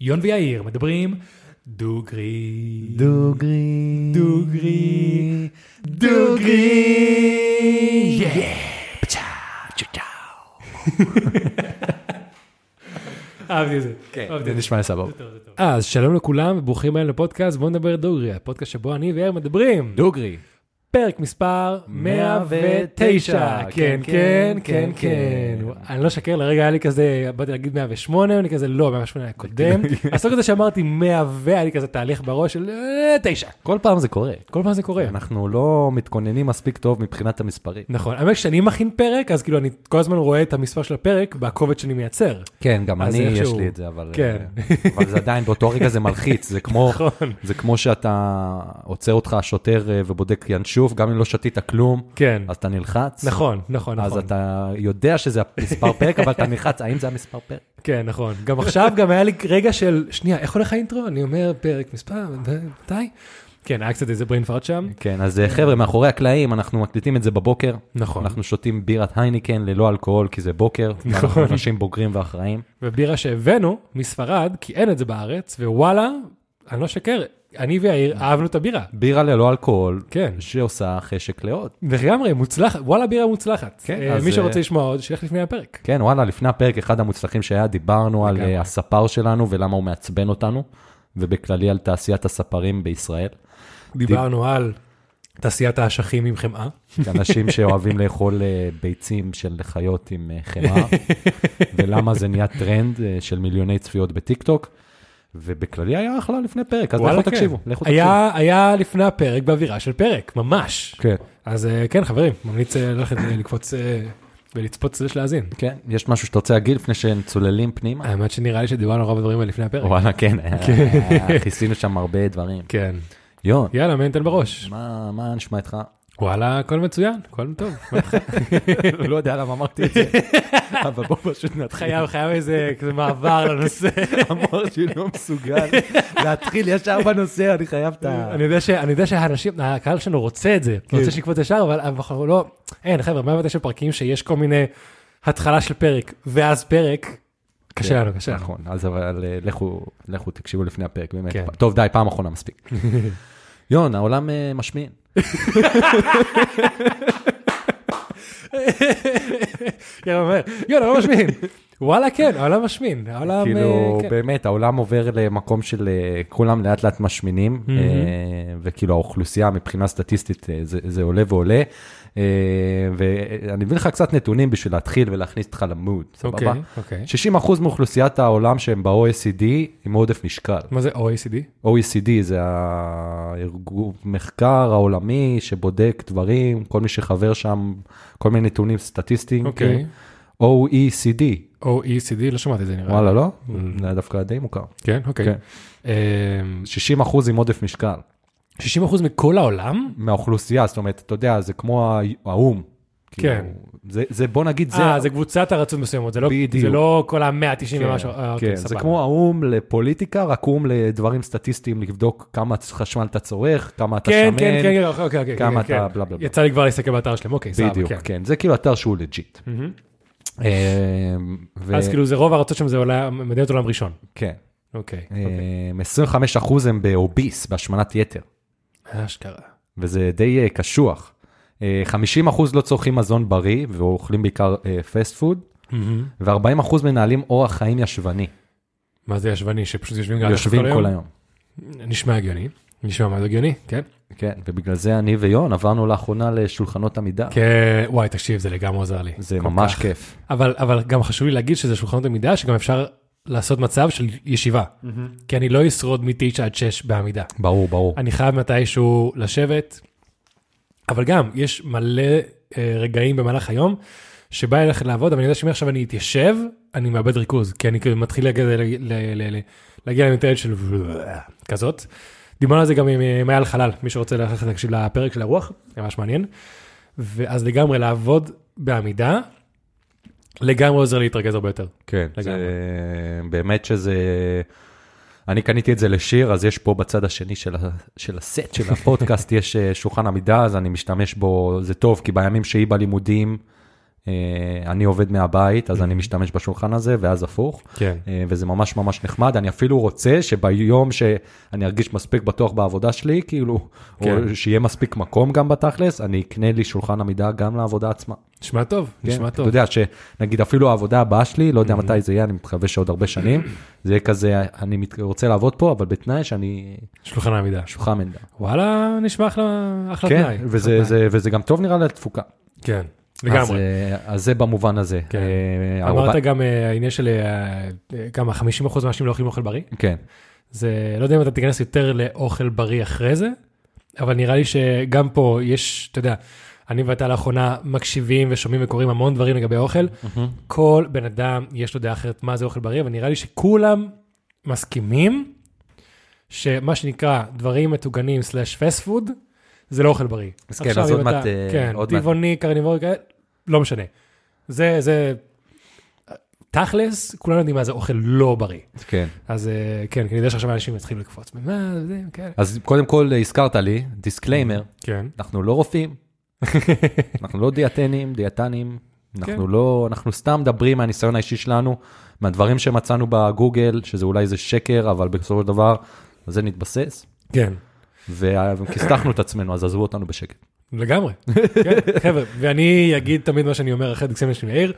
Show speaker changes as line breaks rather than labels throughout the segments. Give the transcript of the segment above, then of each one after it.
יון ויאיר מדברים דוגרי.
דוגרי.
דוגרי.
דוגרי.
יא, פצ'ה, צ'צ'או. אהבתי את זה.
כן,
אהבתי
זה
את
נשמע סבבה.
זה טוב, זה טוב.
אז שלום לכולם וברוכים היום לפודקאסט בוא נדבר דוגרי, הפודקאסט שבו אני ויאיר מדברים.
דוגרי.
פרק מספר 109. כן, כן, כן, כן. אני לא אשקר, לרגע היה לי כזה, באתי להגיד 108, אני כזה לא, 108 היה קודם.
כן.
הסוג הזה שאמרתי 100 והיה לי כזה תהליך בראש של 9.
כל פעם זה קורה.
כל פעם זה קורה.
אנחנו לא מתכוננים מספיק טוב מבחינת המספרים.
נכון, האמת כשאני מכין פרק, אז כאילו אני כל הזמן רואה את המספר של הפרק בקובץ שאני מייצר.
כן, גם
אז
אני, יש
איכשהו-
לי את זה, אבל... אה,
כן.
אבל זה עדיין, באותו רגע זה מלחיץ, זה כמו...
נכון.
זה כמו שאתה עוצר אותך השוטר אה, ובודק ינשוף, גם אם לא שתית כלום,
כן.
אז אתה נלחץ.
נכון, נכון,
אז
נכון.
אתה יודע שזה המספר פרק, אבל אתה נלחץ, האם זה המספר פרק?
כן, נכון. גם עכשיו, גם היה לי רגע של, שנייה, איך הולך האינטרו? אני אומר פרק מספר, מתי? כן, היה קצת איזה brain fart שם.
כן, אז אה, חבר'ה, מאחורי הקלעים, אנחנו מקליטים את זה בבוקר.
נכון.
אנחנו שותים בירת הייניקן ללא אלכוהול, כי זה בוקר.
נכון.
אנחנו אנשים בוגרים ואחראים.
ובירה שהבאנו מספרד, כי אין את זה בארץ, ווואלה, אני לא אשקר, אני ויאיר אהבנו את הבירה.
בירה ללא אלכוהול,
כן.
שעושה חשק לאות.
לגמרי, מוצלחת, וואלה בירה מוצלחת.
כן,
אה,
אז,
מי
אה,
שרוצה לשמוע עוד, שילך לפני הפרק.
כן, וואלה, לפני הפרק, אחד המוצלחים שהיה, דיברנו על
לגמרי.
אה, הספר שלנו ולמה הוא מעצבן אותנו, ובכללי על תעשיית הספרים בישראל.
דיברנו על תעשיית האשכים אה? עם חמאה.
אנשים שאוהבים לאכול אה, ביצים של חיות עם אה, חמאה, ולמה זה נהיה טרנד אה, של מיליוני צפיות בטיקטוק, ובכללי היה אחלה לפני פרק, אז
וואלה,
לכו
כן.
תקשיבו, לכו תקשיבו.
היה- היה לפני הפרק באווירה של פרק, ממש.
כן,
אז אה, כן, חברים, ממליץ אה, ללכת אה, לקפוץ אה, ולצפות סלש להאזין.
כן, יש משהו שאתה רוצה להגיד לפני שצוללים פנימה?
האמת שנראה לי שדיברנו על רוב הדברים האלה לפני הפרק.
וואלה, כן, אה, אה, כיסינו שם הרבה דברים.
כן.
יון,
יאללה, מעניין תן בראש.
מה מה נשמע איתך?
וואלה, הכל מצוין, הכל טוב.
לא יודע למה אמרתי את זה, אבל בוא פשוט נתחיל.
חייב, חייב איזה כזה מעבר לנושא.
המוח שלי לא מסוגל להתחיל ישר בנושא, אני חייב את ה...
אני יודע ש- אני יודע שהאנשים, הקהל שלנו רוצה את זה, רוצה שנקפוץ ישר, אבל אנחנו לא, אין, חבר'ה, 109 פרקים שיש כל מיני התחלה של פרק, ואז פרק, קשה לנו, קשה לנו.
נכון, אז אבל אה, לכו, לכו תקשיבו לפני הפרק, באמת.
כן.
טוב, די, פעם אחרונה מספיק. יון, העולם אה, משמין.
יאללה, אומר, יאללה, העולם משמין. וואלה, כן, העולם משמין. העולם,
כאילו,
אה, כן.
באמת, העולם עובר למקום של אה, כולם לאט לאט משמינים, אה, וכאילו האוכלוסייה מבחינה סטטיסטית, אה, זה זה עולה ועולה. אה, ואני אביא לך קצת נתונים בשביל להתחיל ולהכניס אותך למוד, סבבה?
אוקיי, אוקיי.
60% מאוכלוסיית העולם שהם ב-OECD עם עודף משקל.
מה זה OECD?
OECD E זה המחקר העולמי שבודק דברים, כל מי שחבר שם, כל מיני נתונים סטטיסטיים.
אוקיי.
כן. OECD,
OECD, לא שמעתי את זה נראה. לי.
וואלה לא? זה היה דווקא די מוכר.
כן, אוקיי.
כן.
אמ,
60 אחוז עם עודף משקל
60% מכל העולם?
מהאוכלוסייה, זאת אומרת, אתה יודע, זה כמו הא- האו"ם. כאילו,
כן.
זה, זה בוא נגיד, זה,
אה, זה קבוצת ארצות מסוימות, זה לא-
בדיוק.
זה לא כל ה-190
כן,
ומשהו, אה,
כן,
אוקיי,
זה
סבבה.
כמו האו"ם לפוליטיקה, רק או"ם לדברים סטטיסטיים, לבדוק כמה חשמל אתה צורך, כמה אתה
כן,
שמן.
כן, כן, כן, אוקיי, אוקיי,
כמה
כן,
אתה
כן.
בלה, בלה, בלה.
יצא לי כבר להסתכל באתר שלהם, אוקיי, סבבה,
בדיוק,
כן.
כן, זה כאילו אתר שהוא אה, לג'יט.
אז כאילו זה רוב הארצות שם זה עולה- מדינות עולם ראשון.
כן.
אוקיי,
אמ, 25% הם באוביס, בהשמנת יתר, אה.
אשכרה.
וזה די אה, קשוח. אה, 50% לא צורכים מזון בריא, ואוכלים בעיקר אה, פסט פוד, ו-40% מנהלים אורח חיים ישבני,
מה זה ישבני, שפשוט יושבים גם
יושבים כל היום.
נשמע הגיוני, נשמע מאוד הגיוני, כן.
כן, ובגלל זה אני ויון עברנו לאחרונה לשולחנות עמידה.
כן, וואי, תקשיב, זה לגמרי עוזר לי.
זה
כל
ממש
כך.
כיף.
אבל, אבל גם חשוב לי להגיד שזה שולחנות עמידה, שגם אפשר לעשות מצב של ישיבה. כי אני לא אשרוד מ-9 עד 6 בעמידה.
ברור, ברור.
אני חייב מתישהו לשבת, אבל גם, יש מלא אה, רגעים במהלך היום, שבא לי ללכת לעבוד, אבל אני יודע שמעכשיו אני אתיישב, אני מאבד ריכוז, כי אני כאילו מתחיל להגיע, ל- ל- ל- ל- להגיע למטרד של כזאת. דיברנו על זה גם עם אה, מעיין חלל, מי שרוצה ללכת להקשיב לפרק של הרוח, זה ממש מעניין. ואז לגמרי לעבוד בעמידה, לגמרי עוזר להתרכז הרבה יותר.
כן,
לגמרי.
זה באמת שזה... אני קניתי את זה לשיר, אז יש פה בצד השני של, ה... של הסט של הפודקאסט, יש אה, שולחן עמידה, אז אני משתמש בו, זה טוב, כי בימים שהיא בלימודים, אה, אה, אני עובד מהבית, אז אני משתמש בשולחן הזה, ואז הפוך.
Mhm. כן.
אה, וזה ממש ממש נחמד. אני אפילו רוצה שביום שאני ארגיש מספיק בטוח בעבודה שלי, כאילו,
כן.
או שיהיה מספיק מקום גם בתכלס, אני אקנה לי שולחן עמידה גם לעבודה עצמה.
נשמע טוב,
כן,
נשמע
אתה
טוב. Mm-hmm.
יודע שנגיד אפילו העבודה הבאה שלי, לא יודע מתי זה יהיה, אני מקווה שעוד הרבה שנים, זה יהיה כזה, אני מת- רוצה לעבוד פה, אבל בתנאי שאני
שולחן העמידה.
שולחן עמדה.
וואלה, נשמע אחלה אחלה
כן,
תנאי.
וזה, זה, וזה גם טוב נראה לי לתפוקה.
כן,
אז,
לגמרי.
אה, אז זה במובן הזה.
כן.
אה,
אמרת
הרבה-
גם אה, העניין של אה, אה, כמה 50% מהאנשים לא אוכלים אוכל בריא.
כן,
זה לא יודע אם אתה תיכנס יותר לאוכל בריא אחרי זה, אבל נראה לי שגם פה יש, אתה יודע, אני ואתה לאחרונה מקשיבים ושומעים וקוראים המון דברים לגבי אוכל. כל בן אדם יש לו דעה אחרת מה זה אוכל בריא, אבל נראה לי שכולם מסכימים שמה שנקרא דברים מטוגנים סלאש פסט פוד, זה לא אוכל בריא.
אז כן,
עכשיו,
אז
אם
עוד
אתה-
מעט, אה,
כן,
עוד מעט.
טבעוני, קרניבורי, כאלה, לא משנה. זה, זה, תכלס, כולנו יודעים מה זה אוכל לא בריא.
כן.
אז אה, כן, כי אני יודע שעכשיו אנשים יתחילו לקפוץ. מה זה, כן.
אז קודם כל אה, הזכרת לי, דיסקליימר,
כן.
אנחנו לא רופאים, אנחנו לא דיאטנים, דיאטנים, אנחנו
כן.
לא, אנחנו סתם מדברים מהניסיון האישי שלנו, מהדברים שמצאנו בגוגל, שזה אולי איזה שקר, אבל בסופו של דבר, על זה נתבסס,
כן.
וה- וכיסחנו את עצמנו, אז עזבו אותנו בשקט.
לגמרי. כן, חבר'ה, ואני אגיד תמיד מה שאני אומר אחרי דקסמנט של מאיר.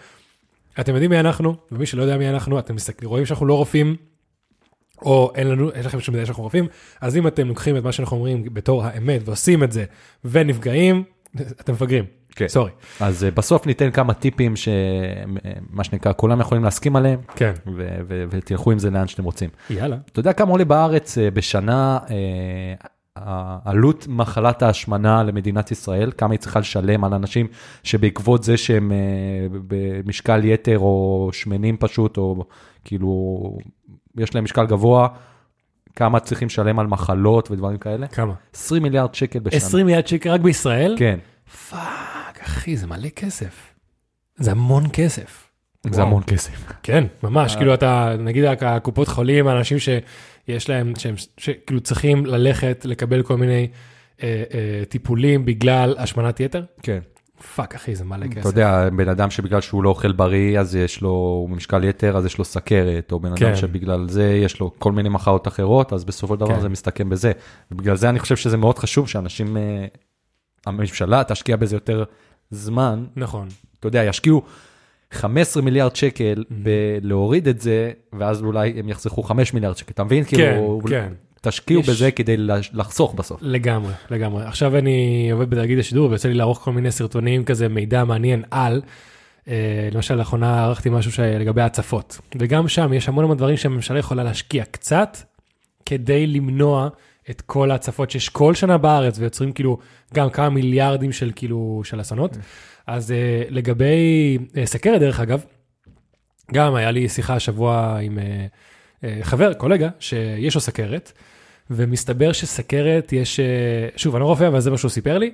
אתם יודעים מי אנחנו, ומי שלא יודע מי אנחנו, אתם מסתכלים, רואים שאנחנו לא רופאים, או אין לנו, אין לכם שום מידע שאנחנו רופאים, אז אם אתם לוקחים את מה שאנחנו אומרים בתור האמת ועושים את זה, ונפגעים, אתם מפגרים.
כן.
סורי.
אז אה, בסוף ניתן כמה טיפים שמה שנקרא, כולם יכולים להסכים עליהם,
כן.
ו- ו- ותלכו עם זה לאן שאתם רוצים.
יאללה.
אתה יודע כמה עולה בארץ אה, בשנה אה, ה- עלות מחלת ההשמנה למדינת ישראל? כמה היא צריכה לשלם על אנשים שבעקבות זה שהם אה, במשקל יתר או שמנים פשוט, או כאילו יש להם משקל גבוה, כמה צריכים לשלם על מחלות ודברים כאלה?
כמה?
20 מיליארד שקל בשנה.
20 מיליארד שקל רק בישראל?
כן,
פאק, אחי, זה מלא כסף. זה המון כסף.
זה
וואו.
המון כסף.
כן,
אה.
ממש, כאילו אתה, נגיד רק הקופות חולים, האנשים שיש להם, שהם, שכאילו צריכים ללכת לקבל כל מיני אה, אה, טיפולים בגלל השמנת יתר,
כן.
פאק אחי, זה מלא
אתה
כסף.
יודע, בן אדם שבגלל שהוא לא אוכל בריא, אז יש לו, הוא במשקל יתר, אז יש לו סכרת, או בן
כן.
אדם שבגלל זה יש לו כל מיני מחלות אחרות, אז בסופו של דבר
כן.
זה מסתכם בזה. ובגלל זה אני חושב שזה מאוד חשוב שאנשים, אה, הממשלה תשקיע בזה יותר זמן.
נכון,
אתה יודע, ישקיעו 15 מיליארד שקל
Mm-hmm.
בלהוריד את זה, ואז אולי הם יחסכו 5 מיליארד שקל, אתה מבין? כאילו,
כן.
תשקיעו
יש-
בזה כדי לש- לחסוך בסוף.
לגמרי, לגמרי. עכשיו אני עובד בתאגיד השידור ויוצא לי לערוך כל מיני סרטונים כזה, מידע מעניין על, אה, למשל לאחרונה ערכתי משהו ש- לגבי הצפות, וגם שם יש המון המון דברים שהממשלה יכולה להשקיע קצת, כדי למנוע את כל ההצפות שיש כל שנה בארץ, ויוצרים כאילו גם כמה מיליארדים של כאילו, של אסונות. אז אה, לגבי אה, סכרת, דרך אגב, גם היה לי שיחה השבוע עם אה, אה, חבר, קולגה, שיש לו סכרת, ומסתבר שסכרת יש, אה, שוב, אני לא רופא, אבל זה מה שהוא סיפר לי,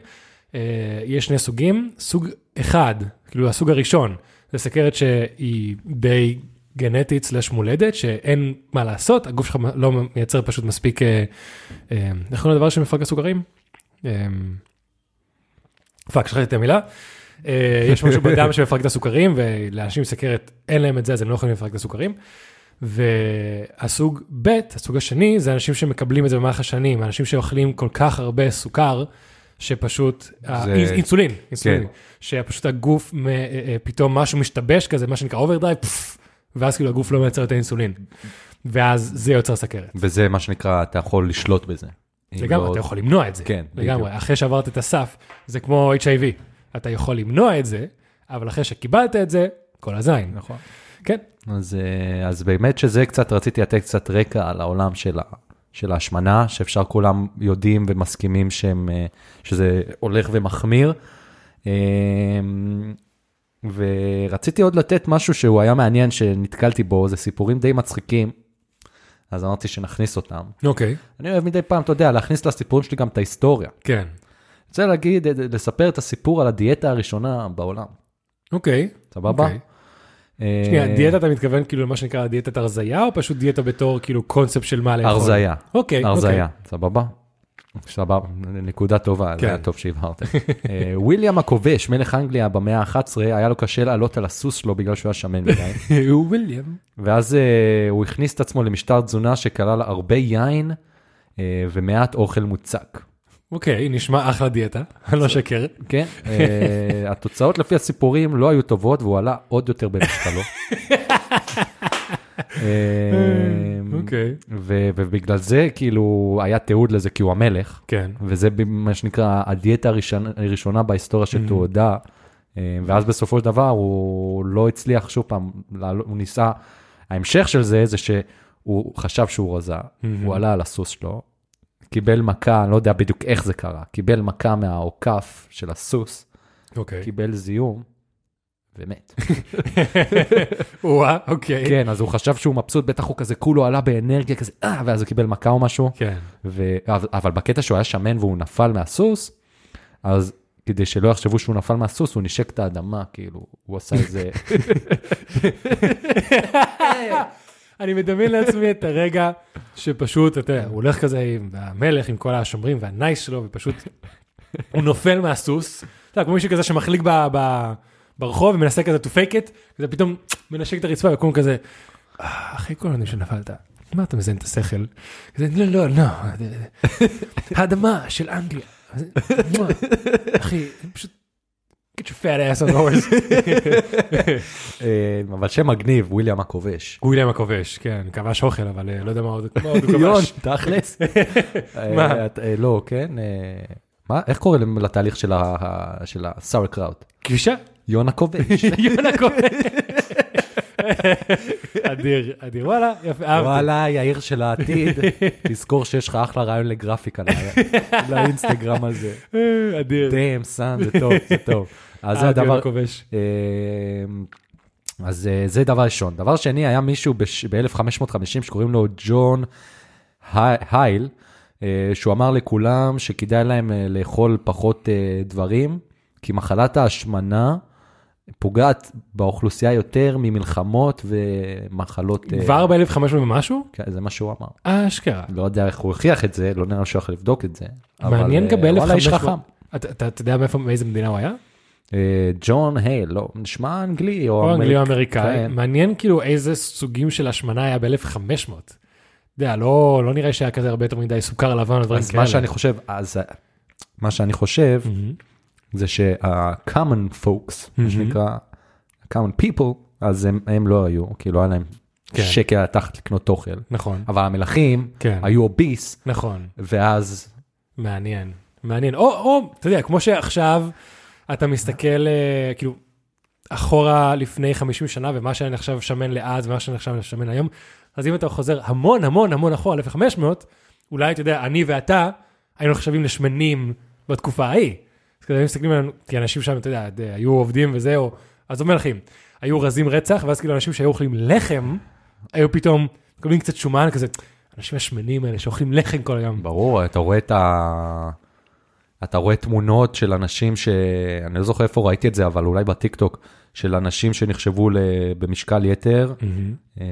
אה, יש שני סוגים, סוג אחד, כאילו הסוג הראשון, זה סכרת שהיא די גנטית סלש מולדת, שאין מה לעשות, הגוף שלך לא מייצר פשוט מספיק, אה, אה, איך קוראים לדבר שמפרק הסוכרים? אה, פאק, שכחתי את המילה. אה, יש משהו בדם שמפרק את הסוכרים, ולאנשים עם סכרת אין להם את זה, אז הם לא יכולים לפרק את הסוכרים. והסוג ב', הסוג השני, זה אנשים שמקבלים את זה במהלך השנים, אנשים שאוכלים כל כך הרבה סוכר, שפשוט, זה... אינסולין, אינסולין,
כן.
שפשוט הגוף, מ... אה, אה, פתאום משהו משתבש כזה, מה שנקרא אוברדרייב, פפפ, ואז כאילו הגוף לא מייצר את האינסולין, ואז זה יוצר סכרת.
וזה מה שנקרא, אתה יכול לשלוט בזה. אם
לגמרי,
לא-
אתה יכול למנוע את זה.
כן, בדיוק.
לגמרי, אחרי שעברת את הסף, זה כמו HIV. אתה יכול למנוע את זה, אבל אחרי שקיבלת את זה, כל הזין.
נכון.
כן,
אז, אה, אז באמת שזה קצת, רציתי לתת קצת רקע על העולם של, ה, של ההשמנה, שאפשר כולם יודעים ומסכימים שהם, אה, שזה הולך ומחמיר. אה, ורציתי עוד לתת משהו שהוא היה מעניין, שנתקלתי בו, זה סיפורים די מצחיקים, אז אמרתי שנכניס אותם.
אוקיי.
אני אוהב מדי פעם, אתה יודע, להכניס לסיפורים שלי גם את ההיסטוריה.
כן.
רוצה להגיד, אה, לספר את הסיפור על הדיאטה הראשונה בעולם,
אוקיי.
סבבה?
אוקיי.
אה,
שנייה, דיאטה אתה מתכוון כאילו למה שנקרא דיאטת הרזייה, או פשוט דיאטה בתור כאילו קונספט של מה לאכול?
אה, הרזייה.
אוקיי, אוקיי.
הרזייה, סבבה? סבבה, נקודה טובה,
כן.
זה היה טוב שהבהרת. אה, וויליאם הכובש, מלך אנגליה במאה ה-11, היה לו קשה לעלות על הסוס שלו בגלל שהוא היה שמן מדי.
הוא אה, וויליאם.
ואז אה, הוא הכניס את עצמו למשטר תזונה שכלל הרבה יין אה, ומעט אוכל מוצק.
אוקיי, נשמע אחלה דיאטה, אני לא שקר.
כן, אה, התוצאות לפי הסיפורים לא היו טובות והוא עלה עוד יותר במשקלו. אה,
אוקיי.
ו- ובגלל זה כאילו היה תיעוד לזה כי הוא המלך,
כן.
וזה ב- מה שנקרא הדיאטה הראשונה- הראשונה בהיסטוריה שתועדה, אה, ואז בסופו של דבר הוא לא הצליח שוב פעם, לעל- הוא ניסה, ההמשך של זה זה שהוא חשב שהוא רזה, הוא עלה על הסוס שלו, קיבל מכה, אני לא יודע בדיוק איך זה קרה, קיבל מכה מהעוקף של הסוס,
אוקיי.
קיבל זיהום. ומת.
וואה, אוקיי.
כן, אז הוא חשב שהוא מבסוט, בטח הוא כזה כולו עלה באנרגיה כזה, אה, ואז הוא קיבל מכה או משהו.
כן.
ו... אבל- אבל בקטע שהוא היה שמן והוא נפל מהסוס, אז כדי שלא יחשבו שהוא נפל מהסוס, הוא נשק את האדמה, כאילו, הוא עשה איזה...
אני מדמיין לעצמי את הרגע שפשוט, אתה יודע, הוא הולך כזה עם המלך, עם כל השומרים והנייס שלו, ופשוט הוא נופל מהסוס. אתה יודע, כמו מישהו כזה שמחליק ב- ב- ברחוב ומנסה כזה to fake it, כזה פתאום מנשק את הרצפה וקום כזה, "אה, אחרי כל הנושא שנפלת, מה אתה מזיין את השכל? כזה, לא, לא, לא, האדמה של אנגליה. "מה? אחי, פשוט, get your fat ass on the horse.
אה, אבל שם מגניב, וויליאם הכובש.
וויליאם הכובש, כן, כבש אוכל, אבל אה, לא יודע מה עוד מה עוד הוא כבש.
יון, תכלס. אה,
מה?
את- אה, לא, כן. אה, מה? איך קורא למ- לתהליך של ה- של הסאור קראוט?
כבישה?
יון הכובש.
יונה כהן. אדיר, אדיר, וואלה, יפה, אהבתי.
וואלה, יאיר של העתיד, תזכור שיש לך אחלה רעיון לגרפיקה ל- לאינסטגרם הזה.
אה, אדיר.
דאם, סאן, זה טוב, זה טוב. אז זה
אהבתי
הדבר,
יונה כובש.
אמ, אז אה, זה דבר ראשון. דבר שני, היה מישהו ב-1550 שקוראים לו ג'ון הי- הייל, אה, שהוא אמר לכולם שכדאי להם אה, לאכול פחות אה, דברים, כי מחלת ההשמנה פוגעת באוכלוסייה יותר ממלחמות ומחלות... אה,
כבר ב-1500 ומשהו?
כן, זה מה שהוא אמר.
אשכרה.
לא יודע איך הוא הכריח את זה, לא נראה לי שהוא יכול לבדוק את זה. אבל,
מעניין
אה,
גם ב-1500.
וואלה, איש חכם.
אתה- אתה אתה יודע מאיפה, מאיזה מדינה הוא היה?
אה, ג'ון הייל, לא, נשמע אנגלי או
הוא אנגלי או
אמריק-
אמריקאי.
כן.
מעניין כאילו איזה סוגים של השמנה היה ב-1500. אתה יודע, לא לא נראה שהיה כזה הרבה יותר מדי סוכר לבן או דברים
אז
כאלה.
מה שאני חושב, אז מה שאני חושב,
מהמם.
זה שה-common folks, מה
Mhm.
שנקרא, common people, אז הם, הם לא היו, כאילו היה להם
כן.
שקל התחת לקנות אוכל.
נכון,
אבל המלכים
כן.
היו אוביס,
נכון.
ואז,
מעניין, מעניין. או, או, אתה יודע, כמו שעכשיו אתה מסתכל אה, כאילו אחורה לפני 50 שנה, ומה שאני עכשיו שמן לאז, ומה שאני עכשיו שמן היום, אז אם אתה חוזר המון המון המון אחורה, 1500, אולי, אתה יודע, אני ואתה היינו נחשבים לשמנים בתקופה ההיא. אז כזה, היו מסתכלים עלינו, כי אנשים שם, אתה יודע, די, היו עובדים וזה, או, עזוב מלכים, היו רזים רצח, ואז כאילו אנשים שהיו אוכלים לחם, היו פתאום מקבלים קצת שומן, כזה, אנשים השמנים האלה שאוכלים לחם כל היום.
ברור, אתה רואה את ה... אתה רואה תמונות של אנשים ש... אני לא זוכר איפה ראיתי את זה, אבל אולי בטיקטוק, של אנשים שנחשבו ל... במשקל יתר, אה,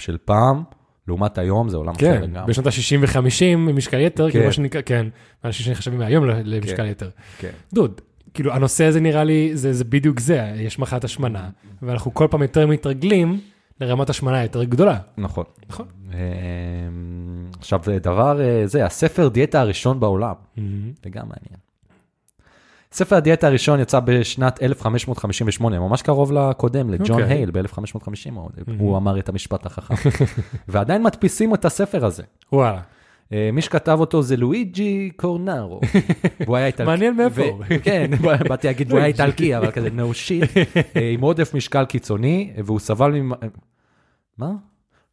של פעם, לעומת היום, זה עולם אחר
כן,
לגמרי.
בשנות ה-60 ו-50 ממשקל יתר,
כן.
כאילו מה שנקרא, כן, אנשים שנחשבים מהיום ל- למשקל יתר.
כן.
דוד, כאילו הנושא הזה נראה לי, זה זה בדיוק זה, יש מחלת השמנה, ואנחנו כל פעם יותר מתרגלים לרמת השמנה יותר גדולה.
נכון.
נכון.
אמ, עכשיו, דבר אה, זה, הספר דיאטה הראשון בעולם, זה גם מעניין. ספר הדיאטה הראשון יצא בשנת 1558, ממש קרוב לקודם, לג'ון
אוקיי.
הייל ב-1550, הוא אמר את המשפט החכם. ועדיין מדפיסים את הספר הזה.
וואלה,
אה, מי שכתב אותו זה לואיג'י קורנרו. הוא היה איטלקי.
מעניין מאיפה
ו-
הוא.
כן, באתי להגיד, הוא היה איטלקי, אבל כזה no shit, אה, עם עודף משקל קיצוני, והוא סבל מ... מה?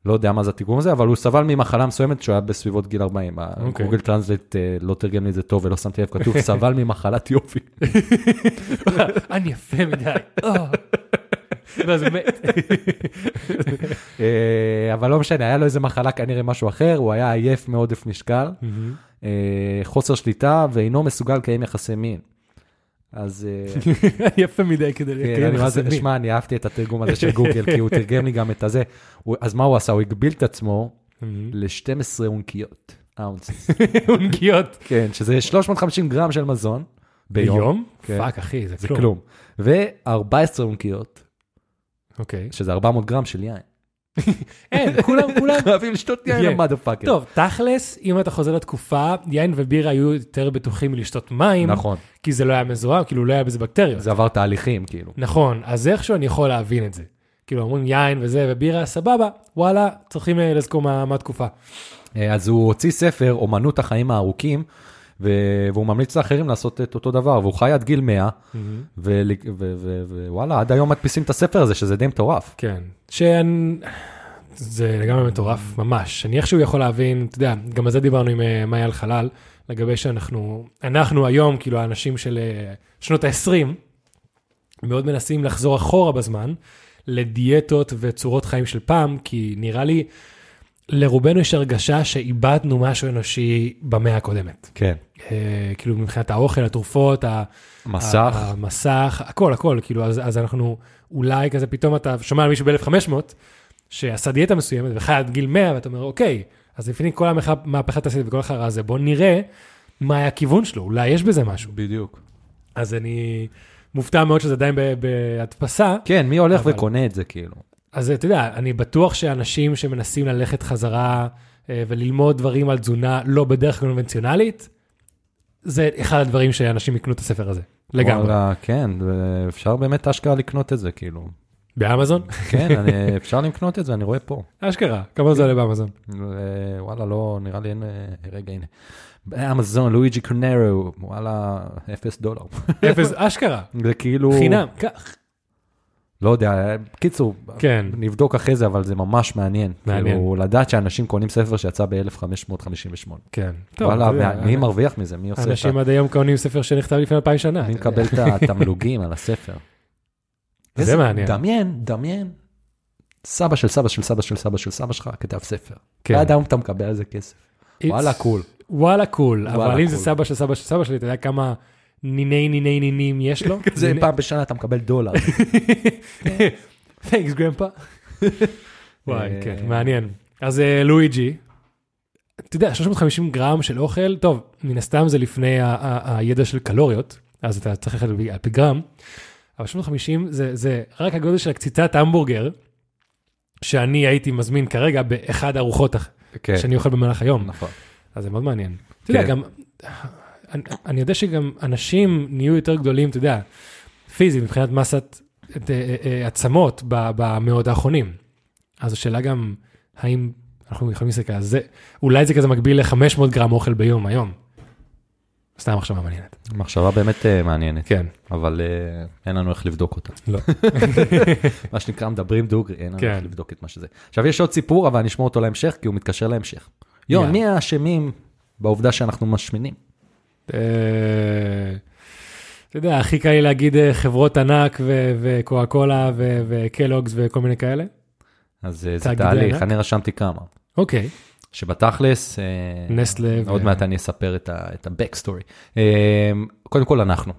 לא יודע מה זה התיגום הזה, אבל הוא סבל ממחלה מסוימת שהוא היה בסביבות גיל 40.
אוקיי.
גוגל טרנסלט אה, לא תרגם לי את זה טוב ולא שמתי לב, כתוב סבל ממחלת יופי.
אני יפה מדי. אה. לא, זה מת.
אה, אבל לא משנה, היה לו איזה מחלה כנראה משהו אחר, הוא היה עייף מעודף משקל, אה, חוסר שליטה, ואינו מסוגל לקיים יחסי מין. אז אה,
אני יפה מדי כדי
כן,
לקיים
אני מה זה-
חסמים.
שמע, אני אהבתי את התרגום הזה של גוגל, כי הוא תרגם לי גם את הזה. הוא- אז מה הוא עשה? הוא הגביל את עצמו ל-12 אונקיות. אאונסס.
אונגיות.
כן, שזה 350 גרם של מזון ביום. כן.
פאק, אחי, זה
זה
כלום.
כלום. ו-14 אונקיות,
אוקיי.
שזה 400 גרם של יין.
אין, כולם, כולם.
חייבים לשתות יין,
יין.
המדה פאקר.
טוב, תכלס, אם אתה חוזר לתקופה, יין ובירה היו יותר בטוחים מלשתות מים,
נכון,
כי זה לא היה מזוהם, כאילו לא היה בזה בקטריות.
זה עבר תהליכים, כאילו.
נכון, אז איכשהו אני יכול להבין את זה. כאילו אומרים יין וזה ובירה, סבבה, וואלה, צריכים אה, לזכור מה, מה התקופה.
אה, אז הוא הוציא ספר, אומנות החיים הארוכים, ו- והוא ממליץ לאחרים לעשות את אותו דבר, והוא חי עד גיל 100, ול- ו- ו- ו- ווואלה, עד היום מדפיסים את הספר הזה, שזה די מטורף.
כן. שאני... זה לגמרי מטורף, ממש. אני איכשהו יכול להבין, אתה יודע, גם על זה דיברנו עם אה, מאיה אלחלל, לגבי שאנחנו, אנחנו היום, כאילו האנשים של אה, שנות ה-20, מאוד מנסים לחזור אחורה בזמן, לדיאטות וצורות חיים של פעם, כי נראה לי, לרובנו יש הרגשה שאיבדנו משהו אנושי במאה הקודמת.
כן.
אה, כאילו מבחינת האוכל, התרופות, ה...
מסך,
ה- המסך, הכל, הכל, כאילו, אז, אז אנחנו אולי כזה, פתאום אתה שומע על מישהו ב-1500, שעשה דיאטה מסוימת וחי עד גיל 100, ואתה אומר, אוקיי, אז לפני כל המהפכה מהפכה התעשייתית וכל החרא הזה, בוא נראה מה היה הכיוון שלו, אולי יש בזה משהו.
בדיוק.
אז אני מופתע מאוד שזה עדיין ב- בהדפסה,
כן, מי הולך
אבל-
וקונה את זה, כאילו?
אז אתה יודע, אני בטוח שאנשים שמנסים ללכת חזרה אה, וללמוד דברים על תזונה לא בדרך קונבנציונלית, זה אחד הדברים שאנשים יקנו את הספר הזה, לגמרי.
וואלה, כן, ו- אפשר באמת אשכרה לקנות את זה, כאילו.
באמזון?
כן, אני- אפשר לקנות את זה, אני רואה פה.
אשכרה, כמה זה עולה באמזון?
אה, וואלה, לא, נראה לי אין... אה, רגע, הנה. באמזון, לואיג'י קרנרו, וואלה, אפס דולר.
אפס, אשכרה,
זה כאילו...
חינם, קח.
לא יודע, קיצור,
כן.
נבדוק אחרי זה, אבל זה ממש מעניין.
מעניין.
כאילו, לדעת שאנשים קונים ספר שיצא ב-1558.
כן. טוב,
וואלה,
אתה יודע,
וה- מי מרוויח מזה? מי עושה את ה...
אנשים עד היום קונים ספר שנכתב לפני אלפיים שנה.
מי
אתה
מקבל
יודע.
את התמלוגים על הספר? איזה-
מעניין.
דמיין, דמיין. סבא של סבא של סבא של סבא של סבא שלך כתב ספר.
כן.
כן. עד היום אתה מקבל על זה כסף.
It's-
וואלה, קול.
וואלה קול,
וואלה,
אבל אם זה
קול.
סבא של סבא של סבא שלי, אתה יודע כמה ניני ניני נינים יש לו?
זה פעם בשנה אתה מקבל דולר.
תייקס גרמפה. כן. וואי,
אה,
כן, מעניין. אז אה, לואיג'י, אתה יודע, 350 גרם של אוכל, טוב, מן הסתם זה לפני ה- ה- הידע של קלוריות, אז אתה צריך ללכת על פי- על פי גרם, אבל 350 זה, זה רק הגודל של הקציצת המבורגר, שאני הייתי מזמין כרגע באחד הארוחות אח-
כן,
שאני אוכל במהלך היום.
נכון.
אז זה מאוד מעניין. אתה יודע, גם, אני, אני יודע שגם אנשים נהיו יותר גדולים, אתה יודע, פיזית, מבחינת מסת את, אה, אה, עצמות ב- במאות האחרונים. אז השאלה גם, האם אנחנו יכולים להסתכל על זה, אולי זה כזה מקביל ל-500 גרם אוכל ביום היום. סתם מחשבה מעניינת.
מחשבה באמת אה, מעניינת,
כן,
אבל אה, אין לנו איך לבדוק אותה.
לא.
מה שנקרא מדברים דוגרי, אין לנו
כן.
איך לבדוק את מה שזה. עכשיו יש עוד סיפור, אבל אני אשמור אותו להמשך, כי הוא מתקשר להמשך. יון,
יאללה.
מי האשמים בעובדה שאנחנו משמינים?
אה, אתה יודע, הכי קל לי להגיד אה, חברות ענק ו- וקוקה קולה ו- וקלוגס וכל מיני כאלה.
אז אה, זה
תאגידי
תהליך,
ענק?
אני רשמתי כמה.
אוקיי,
שבתכלס, אה,
נסטלה. ו-
עוד מעט אני אספר את ה- את ה-back story. אה, קודם כל אנחנו,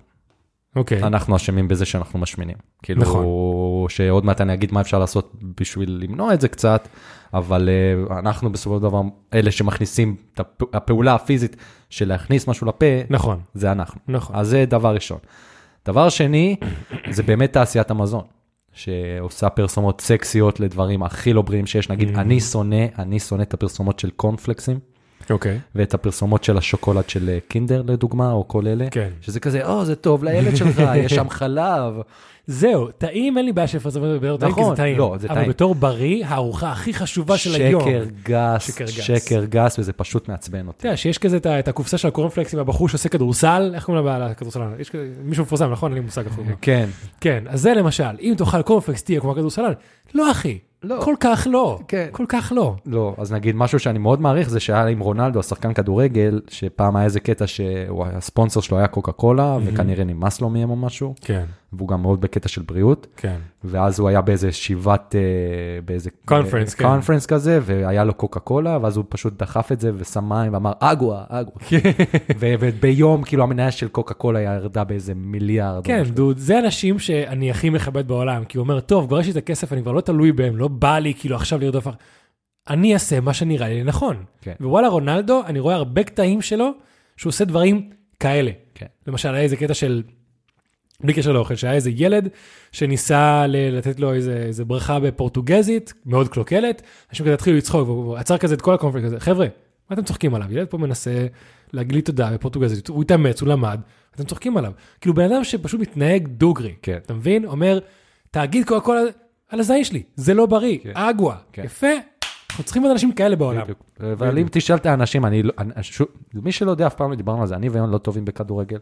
אוקיי.
אנחנו אשמים בזה שאנחנו משמינים. כאילו,
נכון.
שעוד מעט אני אגיד מה אפשר לעשות בשביל למנוע את זה קצת, אבל אה, אנחנו בסופו של דבר אלה שמכניסים את הפ- הפעולה הפיזית של להכניס משהו לפה,
נכון,
זה אנחנו.
נכון.
אז זה דבר ראשון. דבר שני, זה באמת תעשיית המזון, שעושה פרסומות סקסיות לדברים הכי לא בריאים שיש.
Mm.
נגיד, אני שונא, אני שונא את הפרסומות של קורנפלקסים,
אוקיי.
ואת הפרסומות של השוקולד של אה, קינדר לדוגמה, או כל אלה.
כן.
שזה כזה, או, זה טוב לילד שלך, יש שם חלב.
זהו, טעים, אין לי בעיה שיפרסמו את זה בתור טעים, כי
נכון,
זה טעים.
לא, זה טעים.
אבל בתור בריא, הארוחה הכי חשובה של היום.
שקר גס,
שקר
שקר
גס.
גס, שקר גס, וזה פשוט מעצבן אותי.
אתה יודע, שיש כזה את ה- את הקופסה של הקורנפלקס עם הבחור שעושה כדורסל, איך קוראים לבעל הכדורסלן? יש כזה, מישהו מפורסם, נכון? אין לי מושג איך קוראים לו.
כן.
כן, אז זה למשל, אם תאכל קורנפלקס תהיה כמו הכדורסלן. לא, אחי.
לא.
כל כך לא.
כן.
כל כך לא.
לא, אז נגיד משהו שאני מאוד מעריך זה שהיה עם רונלדו, השחקן כדורגל, שפעם היה איזה קטע שהספונסר שלו היה קוקה קולה, וכנראה נמאס לו מהם או משהו,
כן,
והוא גם מאוד בקטע של בריאות,
כן.
ואז הוא היה באיזה שיבת, אה, באיזה...
Conference, כן.
קונפרנס כזה, והיה לו קוקה קולה, ואז הוא פשוט דחף את זה ושם מים ואמר, אגווה, אגווה.
כן.
ו- וביום, כאילו, המניה של קוקה קולה ירדה באיזה מיליארד. או
כן,
משהו.
דוד, זה אנשים שאני הכי מכבד בעולם, כי הוא אומר, טוב, כבר יש לי את הכסף, אני כבר לא תלוי בהם, לא בא לי כאילו עכשיו לרדוף אח... אני אעשה מה שנראה לי נכון.
כן.
ווואלה, רונלדו, אני רואה הרבה קטעים שלו שהוא עושה דברים כאלה.
כן.
למשל, היה איזה קטע של, בלי קשר לאוכל, שהיה איזה ילד שניסה ל- לתת לו איזה, איזה ברכה בפורטוגזית, מאוד קלוקלת, אנשים כזה התחילו לצחוק, והוא והוא עצר כזה את כל הקונפליקט הזה, חבר'ה, מה אתם צוחקים עליו? ילד פה מנסה להגיד לי תודה בפורטוגזית, הוא התאמץ, הוא למד, אתם צוחקים עליו. כאילו בן אדם שפשוט מתנהג דוגרי,
כן.
אתה מבין? אומר, תאגיד קוקה קולה על הזין שלי, זה לא בריא,
כן.
אגווה,
כן.
יפה, אנחנו צריכים עוד אנשים כאלה בעולם.
בדיוק. אבל אם תשאל את האנשים, אני לא, אני- שוב, מי שלא יודע, אף פעם לא דיברנו על זה, אני ויון לא טובים בכדורגל.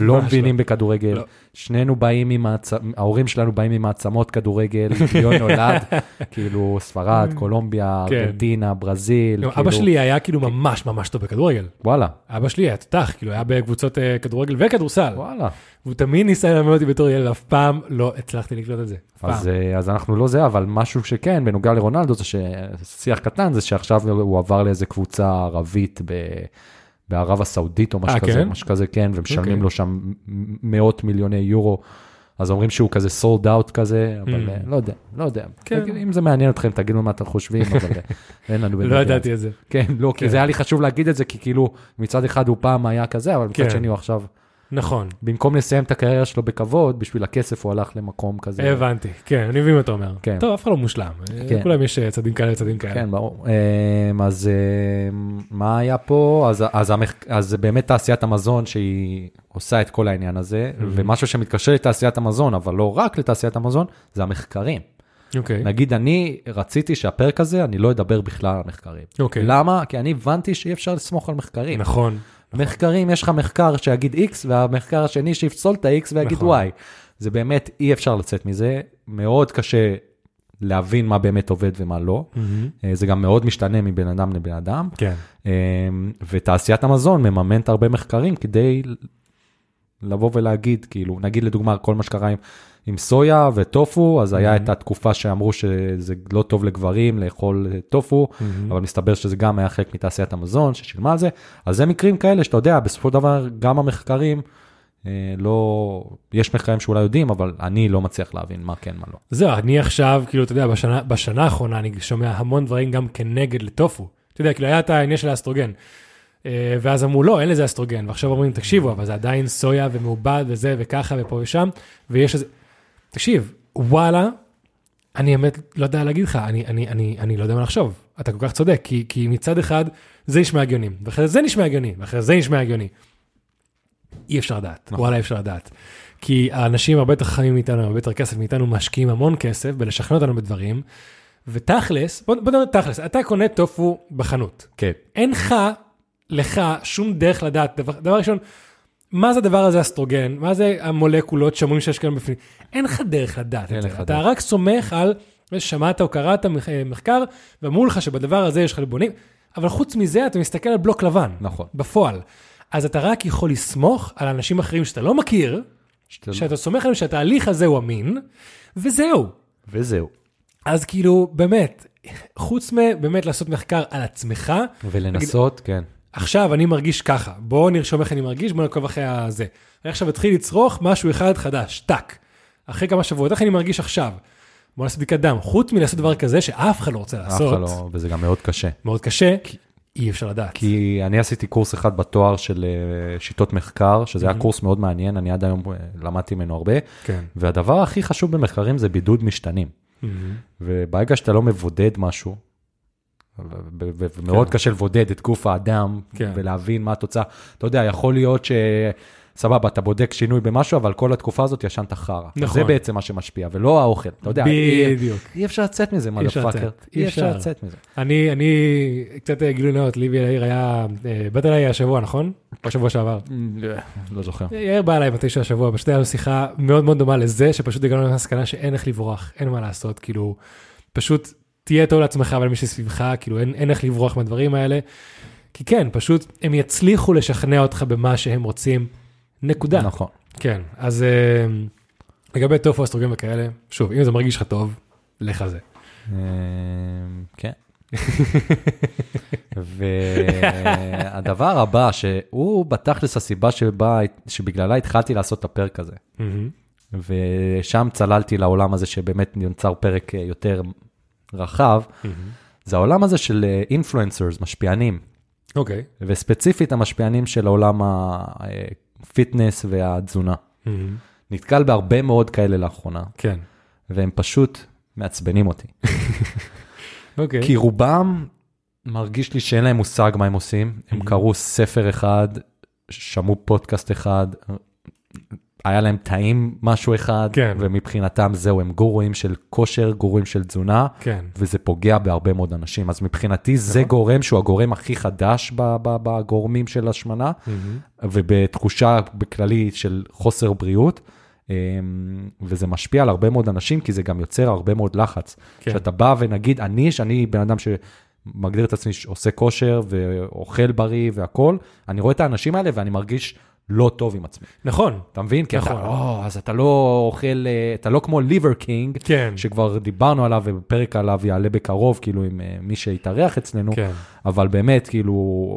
לא מבינים בכדורגל,
לא.
שנינו באים עם העצמות, ההורים שלנו באים עם העצמות כדורגל, יון נולד, כאילו ספרד, קולומביה,
כן.
ארגנטינה, ברזיל,
גם
כאילו,
אבא שלי היה כאילו ממש ממש טוב בכדורגל.
וואלה,
אבא שלי היה תותח, כאילו היה בקבוצות אה, כדורגל וכדורסל.
וואלה.
והוא תמיד ניסה ללמד אותי בתור ילד, אף פעם לא הצלחתי לקלוט את זה. אף פעם.
אז, אה, אז אנחנו לא זה, אבל משהו שכן, בנוגע לרונלדו, זה ששיח קטן, זה שעכשיו הוא עבר לאיזה קבוצה ערבית ב... בערב הסעודית או משהו
אה,
כזה,
כן?
משהו כזה, כן, ומשלמים
אוקיי.
לו שם מ- מאות מיליוני יורו, אז אומרים שהוא כזה סולד אאוט כזה, אבל
Mm.
אה, לא יודע, לא יודע.
כן.
תגיד- אם זה מעניין אתכם, תגידו מה אתם חושבים, אבל אה, אין לנו... באמת
לא
דעה.
ידעתי את זה.
כן, לא, כי
כן.
זה היה לי חשוב להגיד את זה, כי כאילו, מצד אחד הוא פעם היה כזה, אבל
כן.
מצד שני הוא עכשיו,
נכון,
במקום לסיים את הקריירה שלו בכבוד, בשביל הכסף הוא הלך למקום כזה.
הבנתי. כן, אני מבין מה אתה אומר.
כן.
טוב, אף אחד לא מושלם. אה,
כן.
לכולם יש אה, צדדים כאלה וצדדים כאלה.
כן, ברור. אמ, אז אמ, מה היה פה? אז- אז המח- אז זה באמת תעשיית המזון שהיא עושה את כל העניין הזה, ומשהו שמתקשר לתעשיית המזון, אבל לא רק לתעשיית המזון, זה המחקרים.
אוקיי.
כן. נגיד, אני רציתי שהפרק הזה, אני לא אדבר בכלל על מחקרים.
אוקיי.
למה? כי אני הבנתי שאי אפשר לסמוך על מחקרים.
נכון.
מחקרים, יש לך מחקר שיגיד X, והמחקר השני שיפסול את ה-X ויגיד
נכון.
Y. זה באמת, אי אפשר לצאת מזה, מאוד קשה להבין מה באמת עובד ומה לא. אה, זה גם מאוד משתנה מבן אדם לבן אדם.
כן.
אה, ותעשיית המזון מממנת הרבה מחקרים כדי לבוא ולהגיד, כאילו, נגיד לדוגמה, כל מה שקרה עם, עם סויה וטופו, אז היה את התקופה שאמרו שזה לא טוב לגברים לאכול אה, טופו,
Mm-hmm.
אבל מסתבר שזה גם היה חלק מתעשיית המזון ששילמה על זה. אז זה מקרים כאלה שאתה יודע, בסופו של דבר גם המחקרים, אה, לא, יש מחקרים שאולי יודעים, אבל אני לא מצליח להבין מה כן, מה לא.
זהו, אני עכשיו, כאילו, אתה יודע, בשנה, בשנה האחרונה אני שומע המון דברים גם כנגד לטופו. אתה יודע, כאילו, היה את העניין של האסטרוגן. אה, ואז אמרו, לא, אין לזה אסטרוגן. ועכשיו אומרים, תקשיבו, אבל זה עדיין סויה ומעובד וזה וככה ופה ושם, ויש איזה... תקשיב, וואלה, אני באמת לא יודע להגיד לך, אני, אני, אני, אני לא יודע מה לחשוב. אתה כל כך צודק, כי, כי מצד אחד זה נשמע הגיוני, ואחרי זה נשמע הגיוני, ואחרי זה נשמע הגיוני. אי אפשר לדעת,
נכון.
וואלה אי אפשר לדעת. כי האנשים הרבה יותר חכמים מאיתנו, הרבה יותר כסף מאיתנו, משקיעים המון כסף בלשכנע אותנו בדברים, ותכלס, בוא, בוא נדבר תכלס, אתה קונה טופו בחנות.
כן.
אין לך, לך, שום דרך לדעת, דבר, דבר ראשון, מה זה הדבר הזה אסטרוגן, מה זה המולקולות שאומרים שיש כאן בפנים, אין לך דרך לדעת
אין
את זה,
לך
אתה
דרך.
רק סומך על, שמעת או קראת מח- אה, מחקר, ואמרו לך שבדבר הזה יש חלבונים, אבל חוץ מזה אתה מסתכל על בלוק לבן,
נכון.
בפועל. אז אתה רק יכול לסמוך על אנשים אחרים שאתה לא מכיר,
שאתה-
שאתה סומך עליהם שהתהליך הזה הוא אמין, וזהו.
וזהו.
אז כאילו, באמת, חוץ מבאמת לעשות מחקר על עצמך,
ולנסות, כן.
עכשיו אני מרגיש ככה, בואו נרשום איך אני מרגיש, בואו נעקוב אחרי הזה. אני עכשיו אתחיל לצרוך משהו אחד חדש, טאק. אחרי כמה שבועות, איך אני מרגיש עכשיו? בואו נעשה בדיקת דם. חוץ מלעשות דבר כזה שאף אחד לא רוצה
אף אחד
לעשות,
לא, וזה גם מאוד קשה.
מאוד קשה, אי אפשר לדעת.
כי אני עשיתי קורס אחד בתואר של אה, שיטות מחקר, שזה היה קורס מאוד מעניין, אני עד היום אה, למדתי ממנו הרבה,
כן.
והדבר הכי חשוב במחקרים זה בידוד משתנים. וברגע שאתה לא מבודד משהו, ו- ו- ו- ומאוד קשה לבודד את גוף האדם,
כן.
ולהבין מה התוצאה, אתה יודע, יכול להיות ש... סבבה, אתה בודק שינוי במשהו, אבל כל התקופה הזאת ישנת חרא.
נכון.
זה בעצם מה שמשפיע, ולא האוכל, אתה יודע. אי-
Mm-hmm. בדיוק.
אי אפשר לצאת מזה,
אי אפשר
מלאפאקר.
לצאת, אי
אי אפשר
אפשר.
לצאת מזה.
אני, אני, קצת אה, גילוי נאות, ליבי יאיר היה, אה, באת אליי השבוע, נכון? או שבוע שעבר.
לא זוכר.
יאיר בא אליי בתשע השבוע, פשוט היה לנו שיחה מאוד מאוד דומה לזה, שפשוט הגענו למסקנה שאין איך לברוח, אין מה לעשות, כאילו, פשוט תהיה טוב לעצמך ולמי שסביבך, כאילו, אין, אין איך לברוח מהדברים האלה. כי כן, פשוט הם יצליחו לשכנע אותך במה שהם רוצים, נקודה.
נכון.
כן, אז אה, לגבי טופו אסטרוגן וכאלה, שוב, אם זה מרגיש לך טוב, לך על זה.
אמ, כן. והדבר הבא, שהוא בתכלס הסיבה שבה, שבגללה התחלתי לעשות את הפרק הזה. ושם צללתי לעולם הזה שבאמת נוצר פרק אה, יותר רחב, זה העולם הזה של אינפלואנסרס, משפיענים,
אוקיי.
וספציפית המשפיענים של עולם הפיטנס והתזונה. נתקל בהרבה מאוד כאלה לאחרונה,
כן.
והם פשוט מעצבנים אותי.
אוקיי.
כי רובם מרגיש לי שאין להם מושג מה הם עושים, הם
Mhm.
קראו ספר אחד, שמעו פודקאסט אחד, היה להם טעים משהו אחד,
כן.
ומבחינתם זהו, הם גורואים של כושר, גורואים של תזונה,
כן.
וזה פוגע בהרבה מאוד אנשים. אז מבחינתי זה
נכון.
גורם שהוא הגורם הכי חדש ב- ב- בגורמים של השמנה, ובתחושה בכללי של חוסר בריאות. אמ, וזה משפיע על הרבה מאוד אנשים, כי זה גם יוצר הרבה מאוד לחץ.
כן.
כשאתה בא ונגיד, אני, שאני בן אדם שמגדיר את עצמי שעושה כושר ואוכל בריא והכול, אני רואה את האנשים האלה ואני מרגיש לא טוב עם עצמי.
נכון.
אתה מבין? כי
נכון.
אתה, או, אז אתה לא אוכל, אה, אתה לא כמו ליבר קינג,
כן.
שכבר דיברנו עליו ופרק עליו יעלה בקרוב, כאילו עם אה, מי שיתארח אצלנו,
כן.
אבל באמת, כאילו,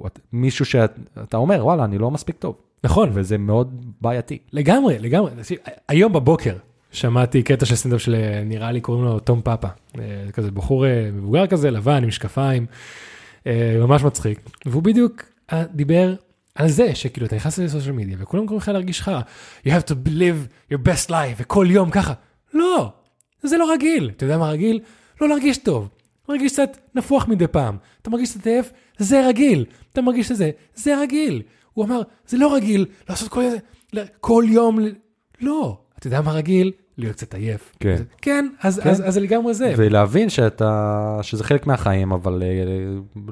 את- מישהו שאתה אומר, וואלה, אני לא מספיק טוב,
נכון.
וזה מאוד בעייתי.
לגמרי, לגמרי. תקשיב, היום בבוקר שמעתי קטע של סטנדאפ של אה, נראה לי קוראים לו תום פאפה. אה, כזה בחור אה, מבוגר כזה, לבן, עם משקפיים, אה, ממש מצחיק. והוא בדיוק אה, דיבר על זה שכאילו אתה נכנס לסושיאל מדיה וכולם קוראים לך להרגיש חרא. You have to live your best life וכל יום ככה. לא, זה לא רגיל. אתה יודע מה רגיל? לא להרגיש טוב. מרגיש קצת נפוח מדי פעם. אתה מרגיש קצת עייף? זה רגיל. אתה מרגיש את זה? זה רגיל. הוא אמר, זה לא רגיל לעשות כל, ל- כל יום... ל- לא. אתה יודע מה רגיל? להיות קצת עייף.
כן.
אז- כן, אז,
כן.
אז, אז, זה לגמרי זה.
ולהבין שאתה, שזה חלק מהחיים, אבל אה,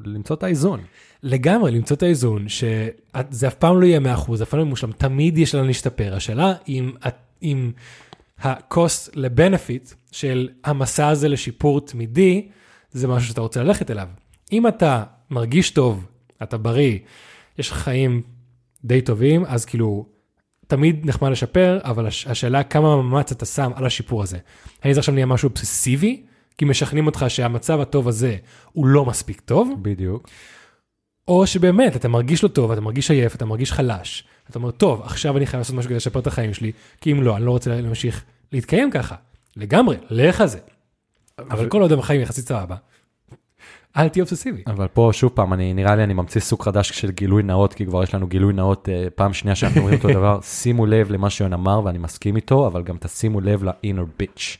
למצוא את האיזון.
לגמרי, למצוא את האיזון, שזה אף פעם לא יהיה 100%, אף פעם לא יהיה מושלם, תמיד יש לנו להשתפר. השאלה אם, את- אם ה-cost ל-benefit של המסע הזה לשיפור תמידי, זה משהו שאתה רוצה ללכת אליו. אם אתה מרגיש טוב, אתה בריא, יש לך חיים די טובים, אז כאילו, תמיד נחמד לשפר, אבל הש- השאלה כמה מאמץ אתה שם על השיפור הזה. האם זה עכשיו נהיה משהו אובססיבי? כי משכנעים אותך שהמצב הטוב הזה הוא לא מספיק טוב,
בדיוק.
או שבאמת, אתה מרגיש לא טוב, אתה מרגיש עייף, אתה מרגיש חלש. אתה אומר, טוב, עכשיו אני חייב לעשות משהו כדי לשפר את החיים שלי, כי אם לא, אני לא רוצה להמשיך להתקיים ככה. לגמרי, לך על זה. אבל כל עוד הם חיים יחסית סבבה, אל תהיה אובססיבי.
אבל פה שוב פעם, אני נראה לי אני ממציא סוג חדש של גילוי נאות, כי כבר יש לנו גילוי נאות אה, פעם שנייה שאנחנו אומרים אותו דבר, שימו לב למה שיון אמר ואני מסכים איתו, אבל גם תשימו לב ל-inner bitch.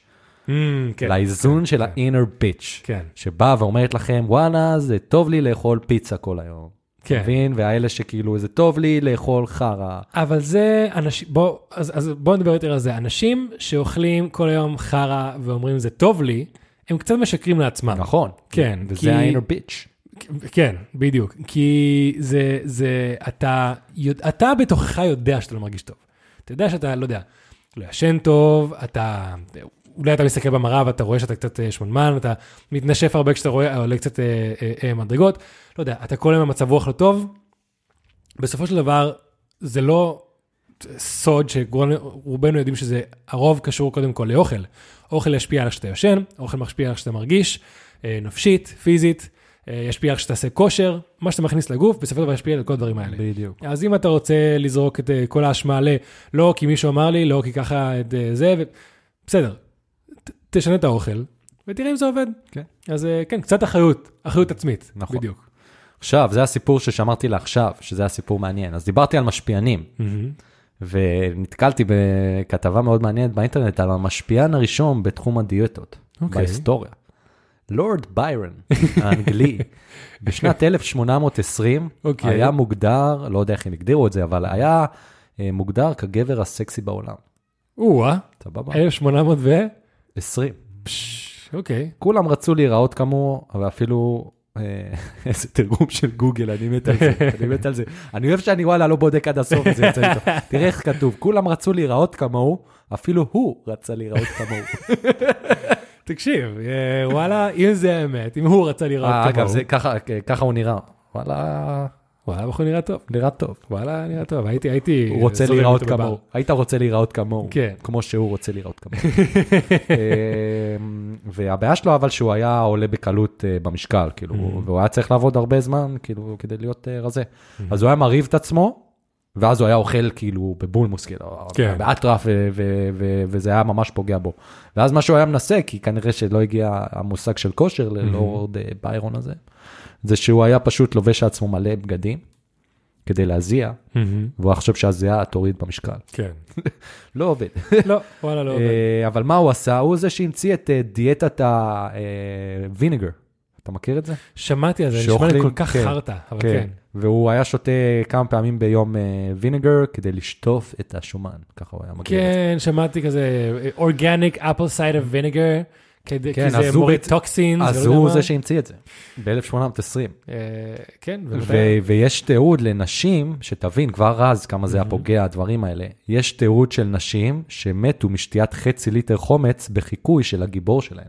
כן.
לאיזון של ה-inner bitch.
כן.
שבאה ואומרת לכם, וואלה, זה טוב לי לאכול פיצה כל היום.
כן.
כן. מבין? והאלה שכאילו, זה טוב לי לאכול חרא.
אבל זה אנשים, בוא, אז, אז בוא נדבר יותר על זה. אנשים שאוכלים כל היום חרא ואומרים זה טוב לי, הם קצת משקרים לעצמם.
נכון.
כן,
וזה
כי-
ה-inner bitch.
כן, בדיוק. כי זה, זה, אתה, יודע- אתה בתוכך יודע שאתה לא מרגיש טוב. אתה יודע שאתה, לא יודע, לא ישן טוב, אתה, אולי אתה מסתכל במראה ואתה רואה שאתה קצת אה, שמנמן, אתה מתנשף הרבה כשאתה רואה, עולה קצת אה, אה, אה, מדרגות, לא יודע, אתה כל היום במצב רוח לא טוב. בסופו של דבר, זה לא סוד שרובנו יודעים שזה, הרוב קשור קודם כל לאוכל. אוכל ישפיע על איך שאתה ישן, אוכל משפיע על איך שאתה מרגיש, אה, נפשית, פיזית, אה, ישפיע על איך שתעשה כושר, מה שאתה מכניס לגוף, בסופו של דבר ישפיע על כל הדברים האלה.
בדיוק.
אז אם אתה רוצה לזרוק את אה, כל האשמה ל... לא כי מישהו אמר לי, לא כי ככה את אה, זה, ו... בסדר, ת- תשנה את האוכל ותראה אם זה עובד.
כן.
אז אה, כן, קצת אחריות, אחריות עצמית.
נכון.
בדיוק.
עכשיו, זה הסיפור ששמרתי לה עכשיו, שזה הסיפור מעניין. אז דיברתי על משפיענים,
Mm-hmm.
ונתקלתי בכתבה מאוד מעניינת באינטרנט על המשפיען הראשון בתחום הדיאטות,
אוקיי.
בהיסטוריה. לורד ביירן, האנגלי, בשנת 1820
אוקיי.
היה מוגדר, לא יודע איך הם הגדירו את זה, אבל היה אה, מוגדר כגבר הסקסי בעולם.
או-אה,
סבבה?
1800 ו...
20.
פש, אוקיי.
כולם רצו להיראות כמוהו, ואפילו... אה, איזה תרגום של גוגל, אני מת על זה, אני מת על זה. אני אוהב שאני וואלה לא בודק עד הסוף, זה יוצא לי טוב. תראה איך כתוב, כולם רצו להיראות כמוהו, אפילו הוא רצה להיראות כמוהו.
תקשיב, אה, וואלה, אם זה האמת, אם הוא רצה לראות
אה,
כמוהו.
אגב, זה ככה, ככה הוא נראה. וואלה,
וואלה, הבחור נראה טוב.
נראה טוב.
וואלה, נראה טוב, הייתי, הייתי... אה,
הוא רוצה
זורם
להיראות
איתו בבר.
כמוהו. היית רוצה להיראות כמוהו,
כן.
כמו שהוא רוצה להיראות כמוהו. אמ, והבעיה שלו אבל שהוא היה עולה בקלות אה, במשקל,
Mm-hmm. Mm-hmm.
כאילו, והוא היה צריך לעבוד הרבה זמן, כאילו, כדי להיות אה, רזה. אז הוא היה מרעיב את עצמו, ואז הוא היה אוכל כאילו בבולמוס, כאילו,
כן.
באטרף, ו- ו- ו- וזה היה ממש פוגע בו. ואז מה שהוא היה מנסה, כי כנראה שלא הגיע המושג של כושר
Mm-hmm.
ללורד אה, ביירון הזה, זה שהוא היה פשוט לובש לעצמו מלא בגדים כדי להזיע, והוא חושב שהזיעה תוריד במשקל.
כן.
לא עובד.
לא, וואלה, לא עובד.
אה, אבל מה הוא עשה? הוא זה שהמציא את אה, דיאטת הוויניגר. אתה מכיר את זה?
שמעתי על זה, נשמע לי
שאוכלים-
כל כך
כן,
חרטא, אבל כן.
והוא היה שותה כמה פעמים ביום ויניגר כדי לשטוף את השומן. ככה הוא היה מגדיר את זה.
כן, שמעתי כזה אה, אורגניק אפל סיידר ויניגר, כי
כן,
זה
אז הוא
מוריד
בעצם-
טוקסינס.
אז
ולא כן, לא יודע
הוא
מה.
זה שהמציא את זה, ב-1820.
אה, כן,
ו- ויש תיעוד לנשים, שתבין כבר אז כמה
Mm-hmm.
זה היה פוגע, הדברים האלה. יש תיעוד של נשים שמתו משתיית חצי ליטר חומץ בחיקוי של הגיבור שלהם.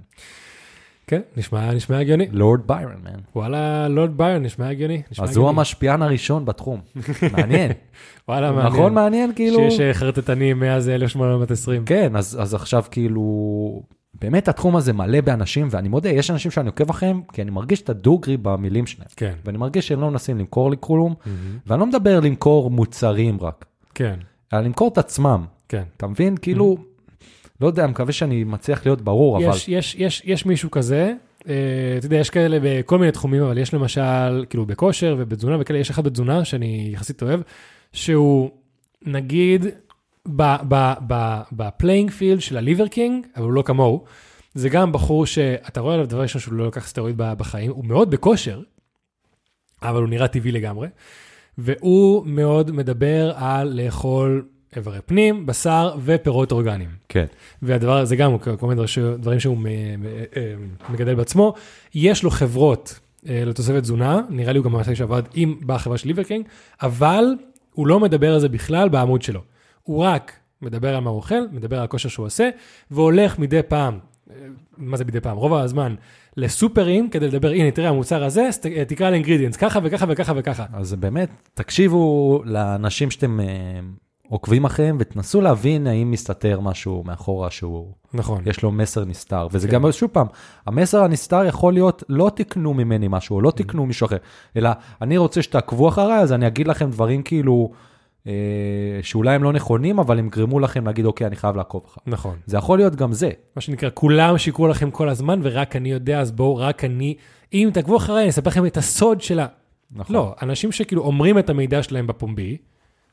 כן, נשמע נשמע הגיוני.
לורד ביירון, מן.
וואלה, לורד בייר, נשמע הגיוני. נשמע
אז הוא
הגיוני.
המשפיען הראשון בתחום. מעניין.
וואלה, מעניין.
נכון מעניין כאילו?
שיש אה, חרטטנים מאז 1820.
כן, אז, אז עכשיו כאילו, באמת התחום הזה מלא באנשים, ואני מודה, יש אנשים שאני עוקב אחריהם, כי אני מרגיש את הדוגרי במילים שלהם.
כן,
ואני מרגיש שהם לא מנסים למכור לי כלום, ואני לא מדבר למכור מוצרים רק,
כן,
אלא למכור את עצמם.
כן.
אתה מבין? כאילו, לא יודע, מקווה שאני מצליח להיות ברור, אבל...
יש, יש, יש, יש מישהו כזה, אה, אתה יודע, יש כאלה בכל מיני תחומים, אבל יש למשל, כאילו בכושר ובתזונה וכאלה, יש אחד בתזונה שאני יחסית אוהב, שהוא נגיד בפליינג פילד של הליבר קינג, אבל הוא לא כמוהו. זה גם בחור שאתה רואה עליו דבר ראשון שהוא לא לקח סטרואיד ב- בחיים, הוא מאוד בכושר, אבל הוא נראה טבעי לגמרי, והוא מאוד מדבר על לאכול איברי פנים, בשר ופירות אורגניים.
כן. דברים
והדבר הזה גם, הוא כל מיני דרש- דברים שהוא מ- מ- אה, מגדל בעצמו. יש לו חברות אה, לתוספת תזונה, נראה לי הוא גם מעשה שעבד עם, בחברה של ליברקינג, אבל הוא לא מדבר על זה בכלל בעמוד שלו. הוא רק מדבר על מה הוא אוכל, מדבר על הכושר שהוא עושה, והולך מדי פעם, אה, מה זה מדי פעם? רוב הזמן, לסופרים כדי לדבר, הנה, תראה, המוצר הזה, ס- אה, תקרא לאינגרידיאנס, ככה וככה וככה וככה.
אז באמת, תקשיבו לאנשים שאתם אה, עוקבים אחריהם, ותנסו להבין האם מסתתר משהו מאחורה שהוא...
נכון.
יש לו מסר נסתר, וזה
כן.
כן. גם, שוב פעם, המסר הנסתר יכול להיות, לא תקנו ממני משהו, או לא תקנו מישהו אחר, אלא אני רוצה שתעקבו אחריי, אז אני אגיד לכם דברים כאילו, אה, שאולי הם לא נכונים, אבל הם גרמו לכם להגיד, אוקיי, אני חייב לעקוב אחריי.
נכון.
זה יכול להיות גם זה.
מה שנקרא, כולם שיקרו לכם כל הזמן, ורק אני יודע, אז בואו, רק אני... אם תעקבו אחריי, אני אספר לכם את הסוד של ה...
נכון.
לא, אנשים שכאילו אומרים את המידע שלהם בפומבי,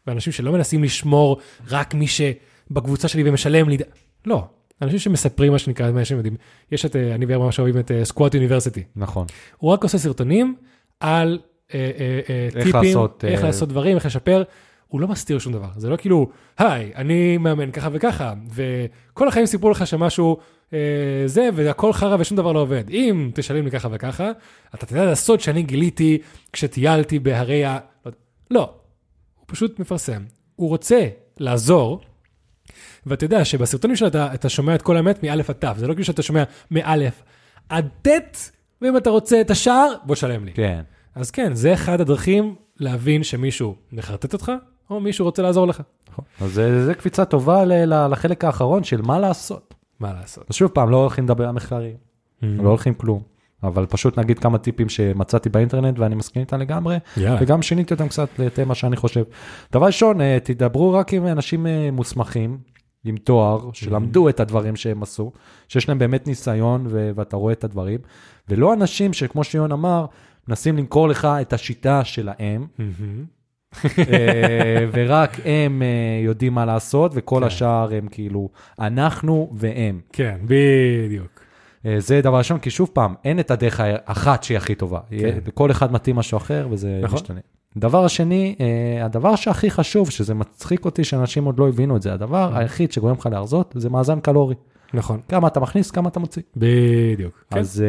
ואנשים שלא מנסים לשמור רק מי שבקבוצה שלי ומשלם לי... ד- לא, אנשים שמספרים מה שנקרא, מה שהם יודעים. יש את, אה, אני ואיר ממש אוהבים את סקוואט יוניברסיטי.
נכון.
הוא רק עושה סרטונים על אה, אה, אה,
איך
טיפים,
לעשות,
איך
אה,
לעשות דברים, איך לשפר. הוא לא מסתיר שום דבר, זה לא כאילו, היי, אני מאמן ככה וככה, וכל החיים סיפרו לך שמשהו אה, זה, והכל חרא ושום דבר לא עובד. אם תשלם לי ככה וככה, אתה תדע לעשות שאני גיליתי כשטיילתי בהרי ה... לא יודע. לא, הוא פשוט מפרסם. הוא רוצה לעזור, ואתה יודע שבסרטונים שלו אתה, אתה שומע את כל האמת מאלף עד תף, זה לא כאילו שאתה שומע מאלף עד טט, ואם אתה רוצה את השאר, בוא שלם לי.
כן.
אז כן, זה אחד הדרכים להבין שמישהו מחרטט אותך, או מישהו רוצה לעזור לך.
נכון. אז זה, זה קפיצה טובה ל, ל, לחלק האחרון של מה לעשות.
מה לעשות?
אז שוב פעם, לא הולכים לדבר על מחקרים, לא הולכים כלום, אבל פשוט נגיד כמה טיפים שמצאתי באינטרנט ואני מסכים איתם לגמרי,
יאללה.
וגם שיניתי אותם קצת לתמה שאני חושב. דבר ראשון, אה, תדברו רק עם אנשים אה, מוסמכים, עם תואר, שלמדו את הדברים שהם עשו, שיש להם באמת ניסיון ו- ואתה רואה את הדברים, ולא אנשים שכמו שיון אמר, מנסים למכור לך את השיטה שלהם,
מהמם.
אה, ורק הם אה, יודעים מה לעשות, וכל
כן.
השאר הם כאילו, אנחנו והם.
כן, בדיוק.
אה, זה דבר ראשון, כי שוב פעם, אין את הדרך האחת שהיא הכי טובה.
כן.
כל אחד מתאים משהו אחר, וזה
נכון.
משתנה. דבר השני, אה, הדבר שהכי חשוב, שזה מצחיק אותי שאנשים עוד לא הבינו את זה, הדבר
אה.
היחיד שגורם לך להרזות, זה מאזן קלורי.
נכון.
כמה אתה מכניס, כמה אתה מוציא.
בדיוק. כן.
אז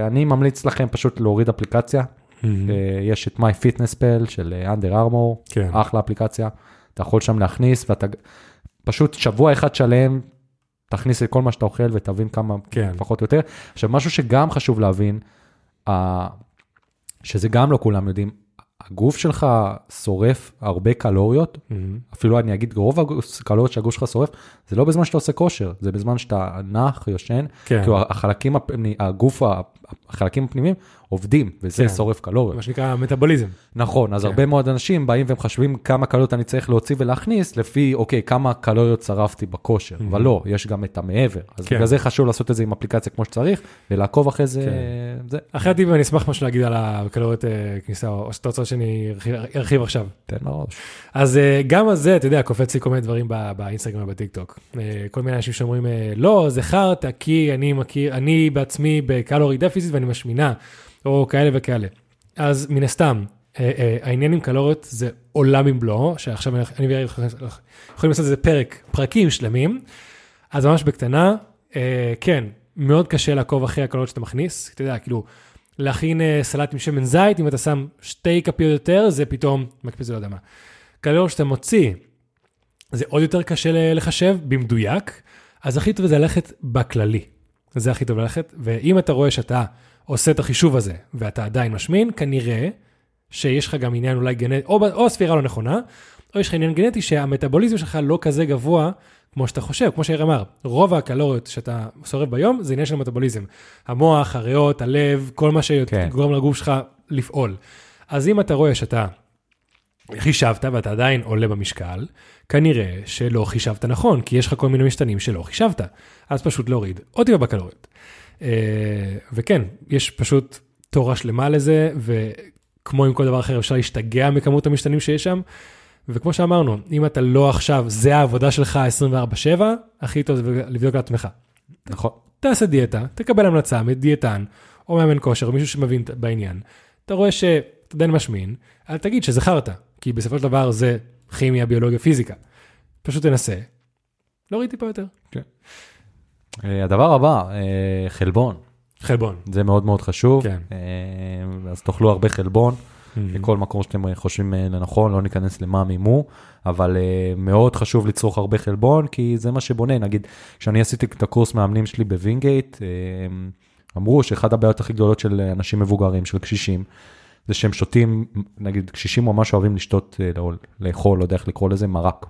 אה, אני ממליץ לכם פשוט להוריד אפליקציה.
מהמם.
אה, יש את MyFitnessPal של אנדר ארמור,
כן.
אחלה אפליקציה. אתה יכול שם להכניס, ואתה פשוט שבוע אחד שלם, תכניס את כל מה שאתה אוכל ותבין כמה
כן.
פחות או יותר. עכשיו, משהו שגם חשוב להבין, אה, שזה גם לא כולם יודעים, הגוף שלך שורף הרבה קלוריות,
מהמם.
אפילו אני אגיד, רוב הקלוריות שהגוף שלך שורף, זה לא בזמן שאתה עושה כושר, זה בזמן שאתה נח, יושן,
כן.
כאילו החלקים, הפ- הגוף, ה- החלקים הפנימיים עובדים, וזה
כן.
שורף קלוריות.
מה שנקרא מטאבוליזם.
נכון, אז
כן.
הרבה מאוד אנשים באים ומחשבים כמה קלוריות אני צריך להוציא ולהכניס, לפי, אוקיי, כמה קלוריות שרפתי בכושר, אבל לא, יש גם את המעבר. אז
כן.
בגלל זה חשוב לעשות את זה עם אפליקציה כמו שצריך, ולעקוב אחרי זה, זה,
אחרי הטיפים אני אשמח משהו להגיד על הקלוריות אה, כניסה, או שאתה רוצה שאני ארחיב- ארחיב עכשיו.
תן בראש.
אז אה, גם על זה, אתה יודע, קופץ לי כל מיני דברים ב- באינסטגרם ובטיקטוק. אה, כל מיני אנשים שאומרים, אה, לא, זה חרטא, כי אני מכיר, אני בעצמי בקלורי דפיסיט ואני משמינה, או כאלה וכאלה. אז מן הסתם, אה, אה, העניין עם קלוריות זה עולם במלואו, שעכשיו אני- אני ויריב יכולים יכולים לעשות איזה פרק, פרקים שלמים. אז ממש בקטנה, אה, כן, מאוד קשה לעקוב אחרי הקלוריות שאתה מכניס, אתה יודע, כאילו... להכין אה, סלט עם שמן זית, אם אתה שם שתי כפיות יותר, זה פתאום מקפיץ לא יודע מה. קלוריות שאתה מוציא, זה עוד יותר קשה ל- לחשב במדויק, אז הכי טוב זה ללכת בכללי. זה הכי טוב ללכת, ואם אתה רואה שאתה עושה את החישוב הזה, ואתה עדיין משמין, כנראה שיש לך גם עניין אולי גנטי, או, ב- או ספירה לא נכונה, או יש לך עניין גנטי שהמטאבוליזם שלך לא כזה גבוה כמו שאתה חושב, כמו שאיר אמר, רוב הקלוריות שאתה שורף ביום זה עניין של מטאבוליזם. המוח, הריאות, הלב, כל מה
כן.
שגורם לגוף שלך לפעול. אז אם אתה רואה שאתה חישבת ואתה עדיין עולה במשקל, כנראה שלא חישבת נכון, כי יש לך כל מיני משתנים שלא חישבת. אז פשוט להוריד עוד טיפה בקלוריות. אה, וכן, יש פשוט תורה שלמה לזה, וכמו עם כל דבר אחר, אפשר להשתגע מכמות המשתנים שיש שם. וכמו שאמרנו, אם אתה לא עכשיו, זה העבודה שלך 24/7, הכי טוב זה לבדוק לעצמך.
נכון.
תעשה דיאטה, תקבל המלצה מדיאטן, או מאמן כושר, או מישהו שמבין את- בעניין. אתה רואה שאתה עדיין משמין, אל תגיד שזה חרטא, כי בסופו של דבר זה כימיה, ביולוגיה, פיזיקה. פשוט תנסה, להוריד טיפה יותר.
אה, הדבר הבא, אה, חלבון,
חלבון.
זה מאוד מאוד חשוב.
כן.
אה, אז תאכלו הרבה חלבון. לכל מקום שאתם אה, חושבים אה, לנכון, לא ניכנס למה מימו, אבל אה, מאוד חשוב לצרוך הרבה חלבון, כי זה מה שבונה. נגיד, כשאני עשיתי את הקורס מאמנים שלי בווינגייט, אה, אמרו שאחת הבעיות הכי גדולות של אה, אנשים מבוגרים, של קשישים, זה שהם שותים, נגיד, קשישים ממש אוהבים לשתות, אה, לא- לאכול, לא יודע איך לקרוא לזה, מרק.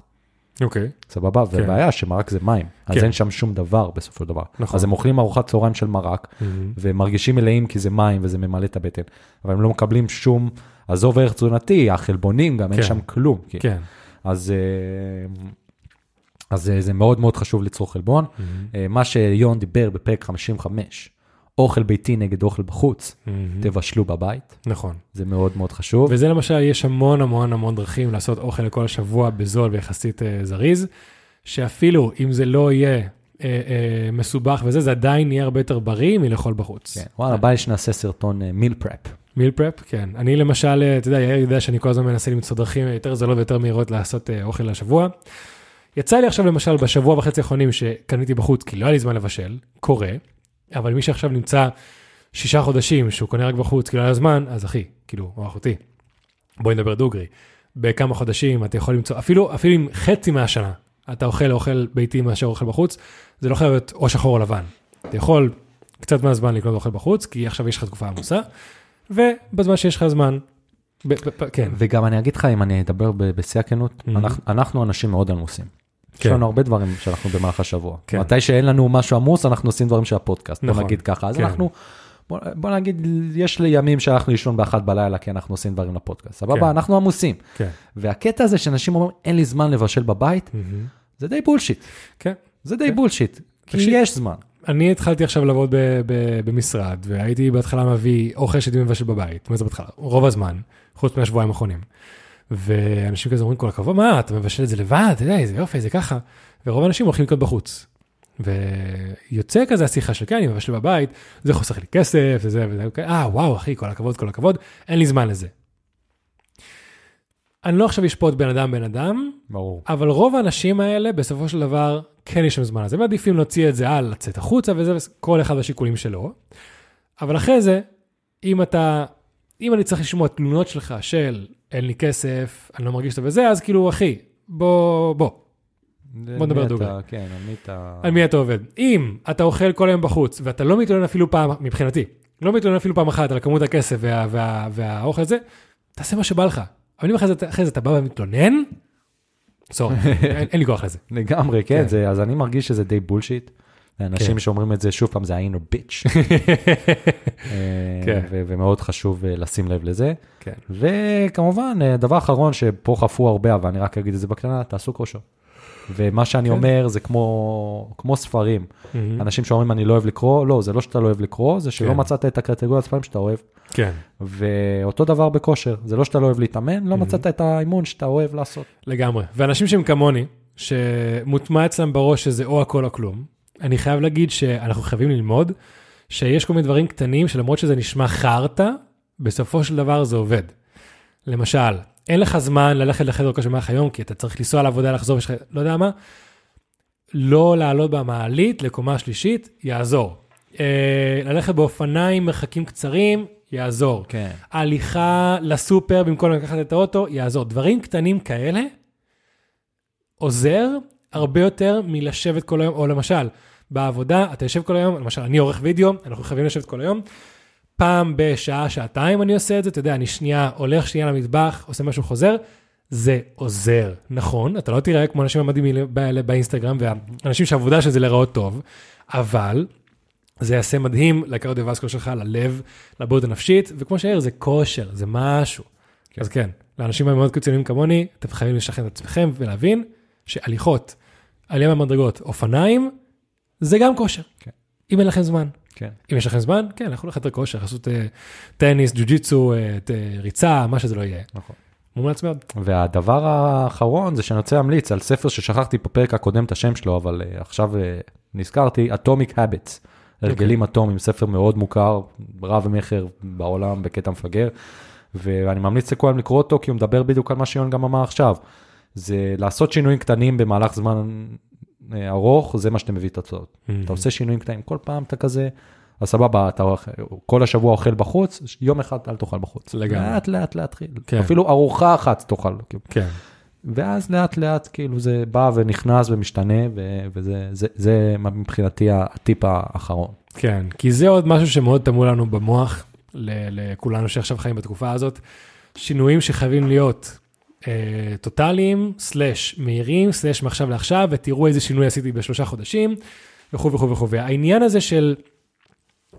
אוקיי.
סבבה,
כן.
והבעיה שמרק זה מים, אז
כן.
אין שם שום דבר בסופו של דבר.
נכון.
אז הם אוכלים ארוחת צהריים של מרק, ומרגישים מלאים כי זה מים וזה ממלא את הבטן, אבל הם לא מקבלים שום, עזוב ערך תזונתי, החלבונים, גם אין
כן.
שם כלום. כי-
כן.
אז, אה, אז אה, זה מאוד מאוד חשוב לצרוך חלבון.
Mm-hmm.
אה, מה שיון דיבר בפרק 55, אוכל ביתי נגד אוכל בחוץ,
Mm-hmm.
תבשלו בבית,
נכון.
זה מאוד מאוד חשוב.
וזה למשל, יש המון המון המון דרכים לעשות אוכל לכל השבוע בזול ויחסית אה, זריז, שאפילו אם זה לא יהיה אה, אה, מסובך וזה, זה עדיין יהיה הרבה יותר בריא מלאכול בחוץ.
כן, וואלה, בא לי שנעשה סרטון אה, מיל פרפ.
מיל פרפ, כן. אני למשל, אה, אתה יודע, יאיר יודע שאני כל הזמן מנסה למצוא דרכים יותר זולות ויותר מהירות לעשות אה, אוכל לשבוע. יצא לי עכשיו למשל בשבוע וחצי האחרונים שקניתי בחוץ, כי לא היה לי זמן לבשל, קורה, אבל מי שעכשיו נמצא שישה חודשים שהוא קונה רק בחוץ, כי לא היה לו זמן, אז אחי, כאילו, או אחותי, בואי נדבר דוגרי. בכמה חודשים אתה יכול למצוא, אפילו, אפילו עם חצי מהשנה, אתה אוכל אוכל ביתי מאשר אוכל בחוץ, זה לא חייב להיות או שחור או לבן. אתה יכול קצת מהזמן לקנות אוכל בחוץ, כי עכשיו יש לך תקופה עמוסה, ובזמן שיש לך זמן, ב- ב- ב- כן,
וגם אני אגיד לך, אם אני אדבר ב- בשיא הכנות,
Mhm.
אנחנו- אנחנו אנשים מאוד עמוסים. יש
כן.
לנו הרבה דברים שאנחנו במהלך השבוע.
כן.
מתי שאין לנו משהו עמוס, אנחנו עושים דברים של הפודקאסט, בוא
נכון.
נגיד ככה. אז
כן.
אנחנו, בוא- בוא נגיד, יש לי ימים שאנחנו לישון באחת בלילה, כי אנחנו עושים דברים לפודקאסט.
כן.
סבבה, אנחנו עמוסים.
כן.
והקטע הזה שאנשים אומרים, אין לי זמן לבשל בבית,
מהמם.
זה די בולשיט.
כן.
זה די בולשיט, כי
תקשיב.
יש זמן.
אני התחלתי עכשיו לעבוד ב- ב- במשרד, והייתי בהתחלה מביא אוכל שהייתי מבשל בבית, מה זה בהתחלה? רוב הזמן, חוץ מהשבועיים האחרונים. ואנשים כזה אומרים כל הכבוד, מה, אתה מבשל את זה לבד, אתה יודע, איזה יופי, זה ככה. ורוב האנשים הולכים לקנות בחוץ. ויוצא כזה השיחה של כן, אני מבשל בבית, זה חוסך לי כסף, זה זה וזה, וכאלה, אה, וואו, אחי, כל הכבוד, כל הכבוד, אין לי זמן לזה. אני לא עכשיו אשפוט בן אדם בן אדם,
ברור.
אבל רוב האנשים האלה, בסופו של דבר, כן יש להם זמן, אז הם מעדיפים להוציא את זה על, לצאת החוצה וזה, וזה, כל אחד והשיקולים שלו. אבל אחרי זה, אם אתה, אם אני צריך לשמוע תלונות שלך של אין לי כסף, אני לא מרגיש טוב וזה, אז כאילו, אחי, בוא, בוא, בוא נדבר דוגרי.
כן, על מי אתה...
על מי אתה עובד. אם אתה אוכל כל היום בחוץ, ואתה לא מתלונן אפילו פעם, מבחינתי, לא מתלונן אפילו פעם אחת על כמות הכסף וה, וה, והאוכל הזה, תעשה מה שבא לך. אבל אם אחרי זה, אחרי זה אתה בא ומתלונן, סורי, אין, אין לי כוח לזה.
לגמרי, כן,
כן.
זה- אז אני מרגיש שזה די בולשיט. לאנשים
כן.
שאומרים את זה, שוב פעם, זה היינו ביץ'. אה,
כן.
ו- ומאוד חשוב אה, לשים לב לזה.
כן.
וכמובן, אה, דבר אחרון שפה חפו הרבה, אבל אני רק אגיד את זה בקטנה, תעשו כושר. ומה שאני
כן.
אומר זה כמו, כמו ספרים.
מהמם.
אנשים שאומרים אני לא אוהב לקרוא, לא, זה לא שאתה לא אוהב לקרוא, זה שלא
כן.
מצאת את הקטגוריית ספרים שאתה אוהב.
כן.
ואותו דבר בכושר, זה לא שאתה לא אוהב להתאמן, לא
Mhm.
מצאת את האימון שאתה אוהב לעשות.
לגמרי. ואנשים שהם כמוני, שמוטמע אצלם בראש שזה או הכל או כלום, אני חייב להגיד שאנחנו חייבים ללמוד שיש כל מיני דברים קטנים שלמרות שזה נשמע חרטא, בסופו של דבר זה עובד. למשל, אין לך זמן ללכת לחדר כושר במהלך היום, כי אתה צריך לנסוע לעבודה, לחזור, יש לך, לא יודע מה, לא לעלות במעלית לקומה שלישית, יעזור. אה, ללכת באופניים מרחקים קצרים, יעזור.
כן.
הליכה לסופר במקום לקחת את האוטו, יעזור. דברים קטנים כאלה עוזר הרבה יותר מלשבת כל היום, או למשל, בעבודה, אתה יושב כל היום, למשל, אני עורך וידאו, אנחנו חייבים לשבת כל היום. פעם בשעה, שעתיים אני עושה את זה, אתה יודע, אני שנייה הולך שנייה למטבח, עושה משהו, חוזר. זה עוזר, נכון, אתה לא תיראה כמו אנשים המדהימים האלה באינסטגרם, והאנשים שהעבודה של זה להיראות טוב, אבל זה יעשה מדהים לקרדיו-וסקול שלך, ללב, לבריאות הנפשית, וכמו שהעיר, זה כושר, זה משהו. כן. אז כן, לאנשים המאוד קיצוניים כמוני, אתם חייבים לשכנע את עצמכם ולהבין שהליכות, עלייה במדרגות, אופניים, זה גם כושר.
כן.
אם אין לכם זמן.
כן.
אם יש לכם זמן, כן, לכו לחדר כושר, לעשות אה, טניס, ג'ו-ג'יצו, אה, ת- ריצה, מה שזה לא יהיה.
נכון.
מומלץ מאוד.
והדבר האחרון זה שאני רוצה להמליץ על ספר ששכחתי בפרק הקודם את השם שלו, אבל אה, עכשיו אה, נזכרתי, Atomic Habits, הרגלים אטומיים, ספר מאוד מוכר, רב מכר בעולם בקטע מפגר, ואני ממליץ לכולם לקרוא אותו, כי הוא מדבר בדיוק על מה שיון גם אמר עכשיו. זה לעשות שינויים קטנים במהלך זמן אה, ארוך, זה מה שאתם מביא תוצאות.
Mm.
אתה עושה שינויים קטנים, כל פעם אתה כזה, אז סבבה, אתה אוכל- כל השבוע אוכל בחוץ, יום אחד אל תאכל בחוץ.
לגמרי.
לאט לאט להתחיל.
כן.
אפילו ארוחה אחת תאכל. כאילו.
כן,
ואז לאט לאט כאילו זה בא ונכנס ומשתנה, ו- וזה זה, זה מבחינתי הטיפ האחרון.
כן, כי זה עוד משהו שמאוד טמון לנו במוח, ל- לכולנו שעכשיו חיים בתקופה הזאת. שינויים שחייבים להיות אה, טוטאליים, סלאש מהירים, סלאש מעכשיו לעכשיו, ותראו איזה שינוי עשיתי בשלושה חודשים, וכו' וכו' וכו'. והעניין הזה של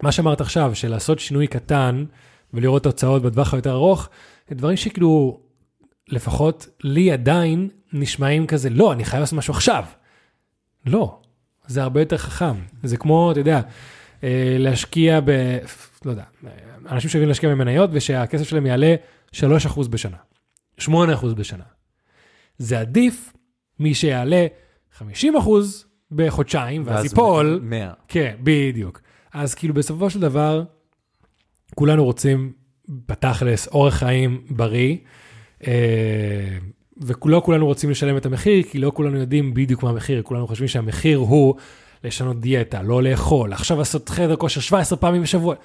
מה שאמרת עכשיו, של לעשות שינוי קטן ולראות תוצאות בטווח היותר ארוך, זה דברים שכאילו, לפחות לי עדיין נשמעים כזה, לא, אני חייב לעשות משהו עכשיו. לא, זה הרבה יותר חכם. זה כמו, אתה יודע, אה, להשקיע ב... לא יודע, אה, אנשים שאוהבים להשקיע במניות ושהכסף שלהם יעלה 3% בשנה, 8% בשנה. זה עדיף משיעלה 50% בחודשיים, ואז ייפול.
100.
כן, בדיוק. אז כאילו בסופו של דבר, כולנו רוצים בתכלס אורח חיים בריא, אה, ולא כולנו רוצים לשלם את המחיר, כי לא כולנו יודעים בדיוק מה המחיר, כולנו חושבים שהמחיר הוא לשנות דיאטה, לא לאכול, עכשיו לעשות חדר כושר 17 פעמים בשבוע.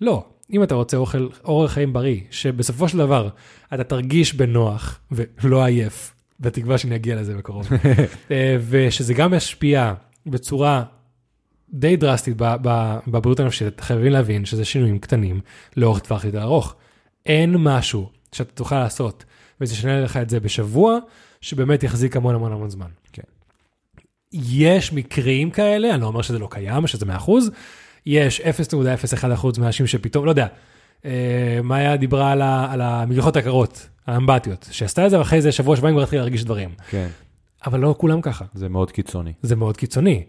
לא, אם אתה רוצה אוכל, אורח חיים בריא, שבסופו של דבר אתה תרגיש בנוח ולא עייף, בתקווה שאני אגיע לזה בקרוב, אה, ושזה גם ישפיע בצורה די דרסטית ב- ב- בבריאות הנפשית, אתה חייבים להבין שזה שינויים קטנים לאורך טווח יותר ארוך. אין משהו שאתה תוכל לעשות ותשנה לך את זה בשבוע, שבאמת יחזיק המון המון המון זמן.
כן.
יש מקרים כאלה, אני לא אומר שזה לא קיים, שזה 100%, יש 0.01% מהאנשים שפתאום, לא יודע, אה, מאיה דיברה על, ה, על המגלחות הקרות, האמבטיות, שעשתה את זה, ואחרי זה שבוע שבועיים כבר התחילה להרגיש דברים.
כן,
אבל לא כולם ככה.
זה מאוד קיצוני.
זה מאוד קיצוני.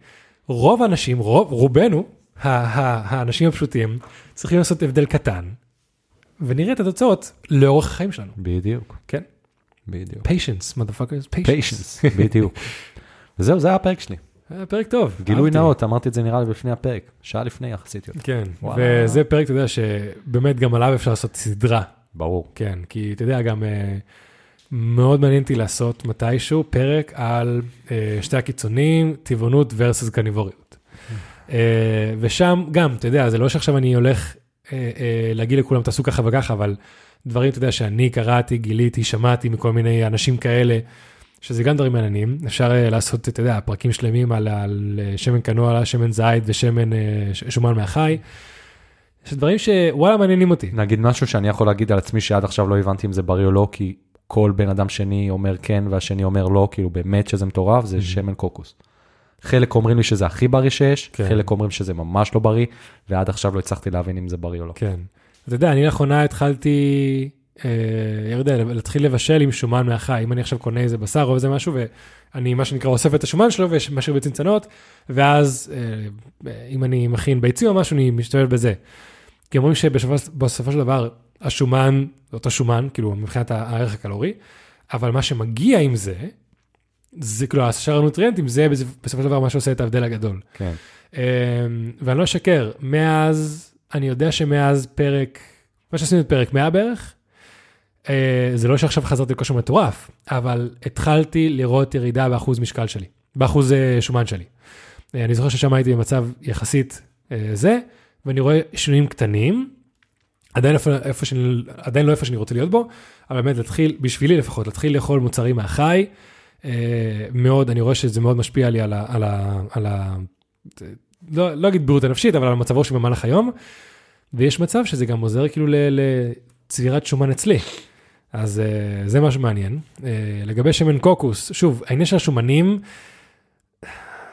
רוב האנשים, רוב, רובנו, ה- ה- האנשים הפשוטים, צריכים לעשות הבדל קטן, ונראה את התוצאות לאורך החיים שלנו.
בדיוק,
כן?
בדיוק.
patience, motherfuckers, patience.
פיישנס, בדיוק. וזהו, זה היה הפרק שלי.
היה אה, פרק טוב.
גילוי
אהבתי.
נאות, אמרתי את זה נראה לי לפני הפרק, שעה לפני יחסית יותר.
כן,
וואלה.
וזה פרק, אתה יודע, שבאמת גם עליו אפשר לעשות סדרה.
ברור.
כן, כי אתה יודע, גם אה, מאוד מעניין אותי לעשות מתישהו פרק על אה, שתי הקיצונים, טבעונות versus קניבוריות. אה, ושם גם, אתה יודע, זה לא שעכשיו אני הולך אה, אה, להגיד לכולם תעשו ככה וככה, אבל דברים, אתה יודע, שאני קראתי, גיליתי, שמעתי מכל מיני אנשים כאלה, שזה גם דברים מעניינים. אפשר אה, לעשות, אתה יודע, פרקים שלמים על, על אה, שמן קנולה, שמן זית ושמן אה, ש- שומן מהחי. יש דברים שוואלה מעניינים אותי.
נגיד משהו שאני יכול להגיד על עצמי שעד עכשיו לא הבנתי אם זה בריא או לא, כי כל בן אדם שני אומר כן והשני אומר לא, כאילו באמת שזה מטורף, זה שמן קוקוס. חלק אומרים לי שזה הכי בריא שיש,
כן.
כן. חלק אומרים שזה ממש לא בריא, ועד עכשיו לא הצלחתי להבין אם זה בריא או לא.
כן. אתה יודע, אני לאחרונה התחלתי, אה, ירדן, להתחיל לבשל עם שומן מהחי. אם אני עכשיו קונה איזה בשר או איזה משהו, ואני, מה שנקרא, אוסף את השומן שלו ומשאיר בצנצנות, ואז אה, אה, אם אני מכין ביצים או משהו, אני משתמש בזה. כי אומרים שבסופו בסופו של דבר, השומן, זה אותו שומן, כאילו, מבחינת הערך הקלורי, אבל מה שמגיע עם זה, זה כאילו, השאר הנוטריאנטים, זה בסופו של דבר מה שעושה את ההבדל הגדול.
כן.
אמ, ואני לא אשקר, מאז, אני יודע שמאז פרק, מה שעשינו את פרק 100 בערך, אה, זה לא שעכשיו חזרתי לכושר מטורף, אבל התחלתי לראות ירידה באחוז משקל שלי, באחוז אה, שומן שלי. אה, אני זוכר ששם הייתי במצב יחסית אה, זה, ואני רואה שינויים קטנים, עדיין, איפה, איפה שאני, עדיין לא איפה שאני רוצה להיות בו, אבל באמת להתחיל, בשבילי לפחות, להתחיל לאכול מוצרים מהחי, אה, מאוד, אני רואה שזה מאוד משפיע לי על ה... על ה, על ה לא, לא אגיד בריאות הנפשית, אבל על מצבו שבמהלך היום. ויש מצב שזה גם עוזר כאילו ל- לצבירת שומן אצלי. אז אה, זה משהו מעניין. אה, לגבי שמן קוקוס, שוב, העניין של השומנים,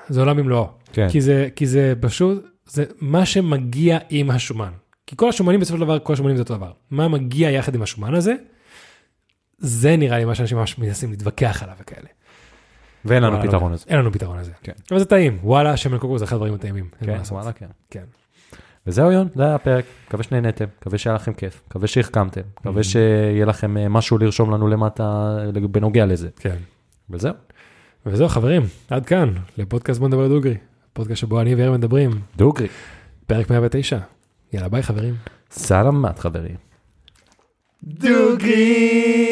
זה עולם במלואו.
כן.
כי זה, כי זה פשוט, זה מה שמגיע עם השומן. כי כל השומנים בסופו של דבר, כל השומנים זה אותו דבר. מה מגיע יחד עם השומן הזה? זה נראה לי מה שאנשים ממש מנסים להתווכח עליו וכאלה.
ואין לנו
וואלה, לא
פתרון
יודע.
לזה.
אין לנו פתרון לזה.
כן.
אבל זה טעים, וואלה, שמן קוקוס זה אחד הדברים הטעימים. אין מה
כן,
לעשות.
וואלה, כן.
כן.
וזהו יון, זה היה הפרק, מקווה שנהנתם, מקווה שהיה לכם כיף, מקווה שהחכמתם, מקווה שיהיה לכם אה, משהו לרשום לנו למטה אה, בנוגע לזה.
כן.
וזהו,
וזהו חברים, עד כאן, לפודקאסט בוא נדבר דוגרי. פודקאסט שבו אני ואיר מדברים,
דוגרי.
פרק 109. יאללה ביי חברים.
סלמת חברים.
דוגרי.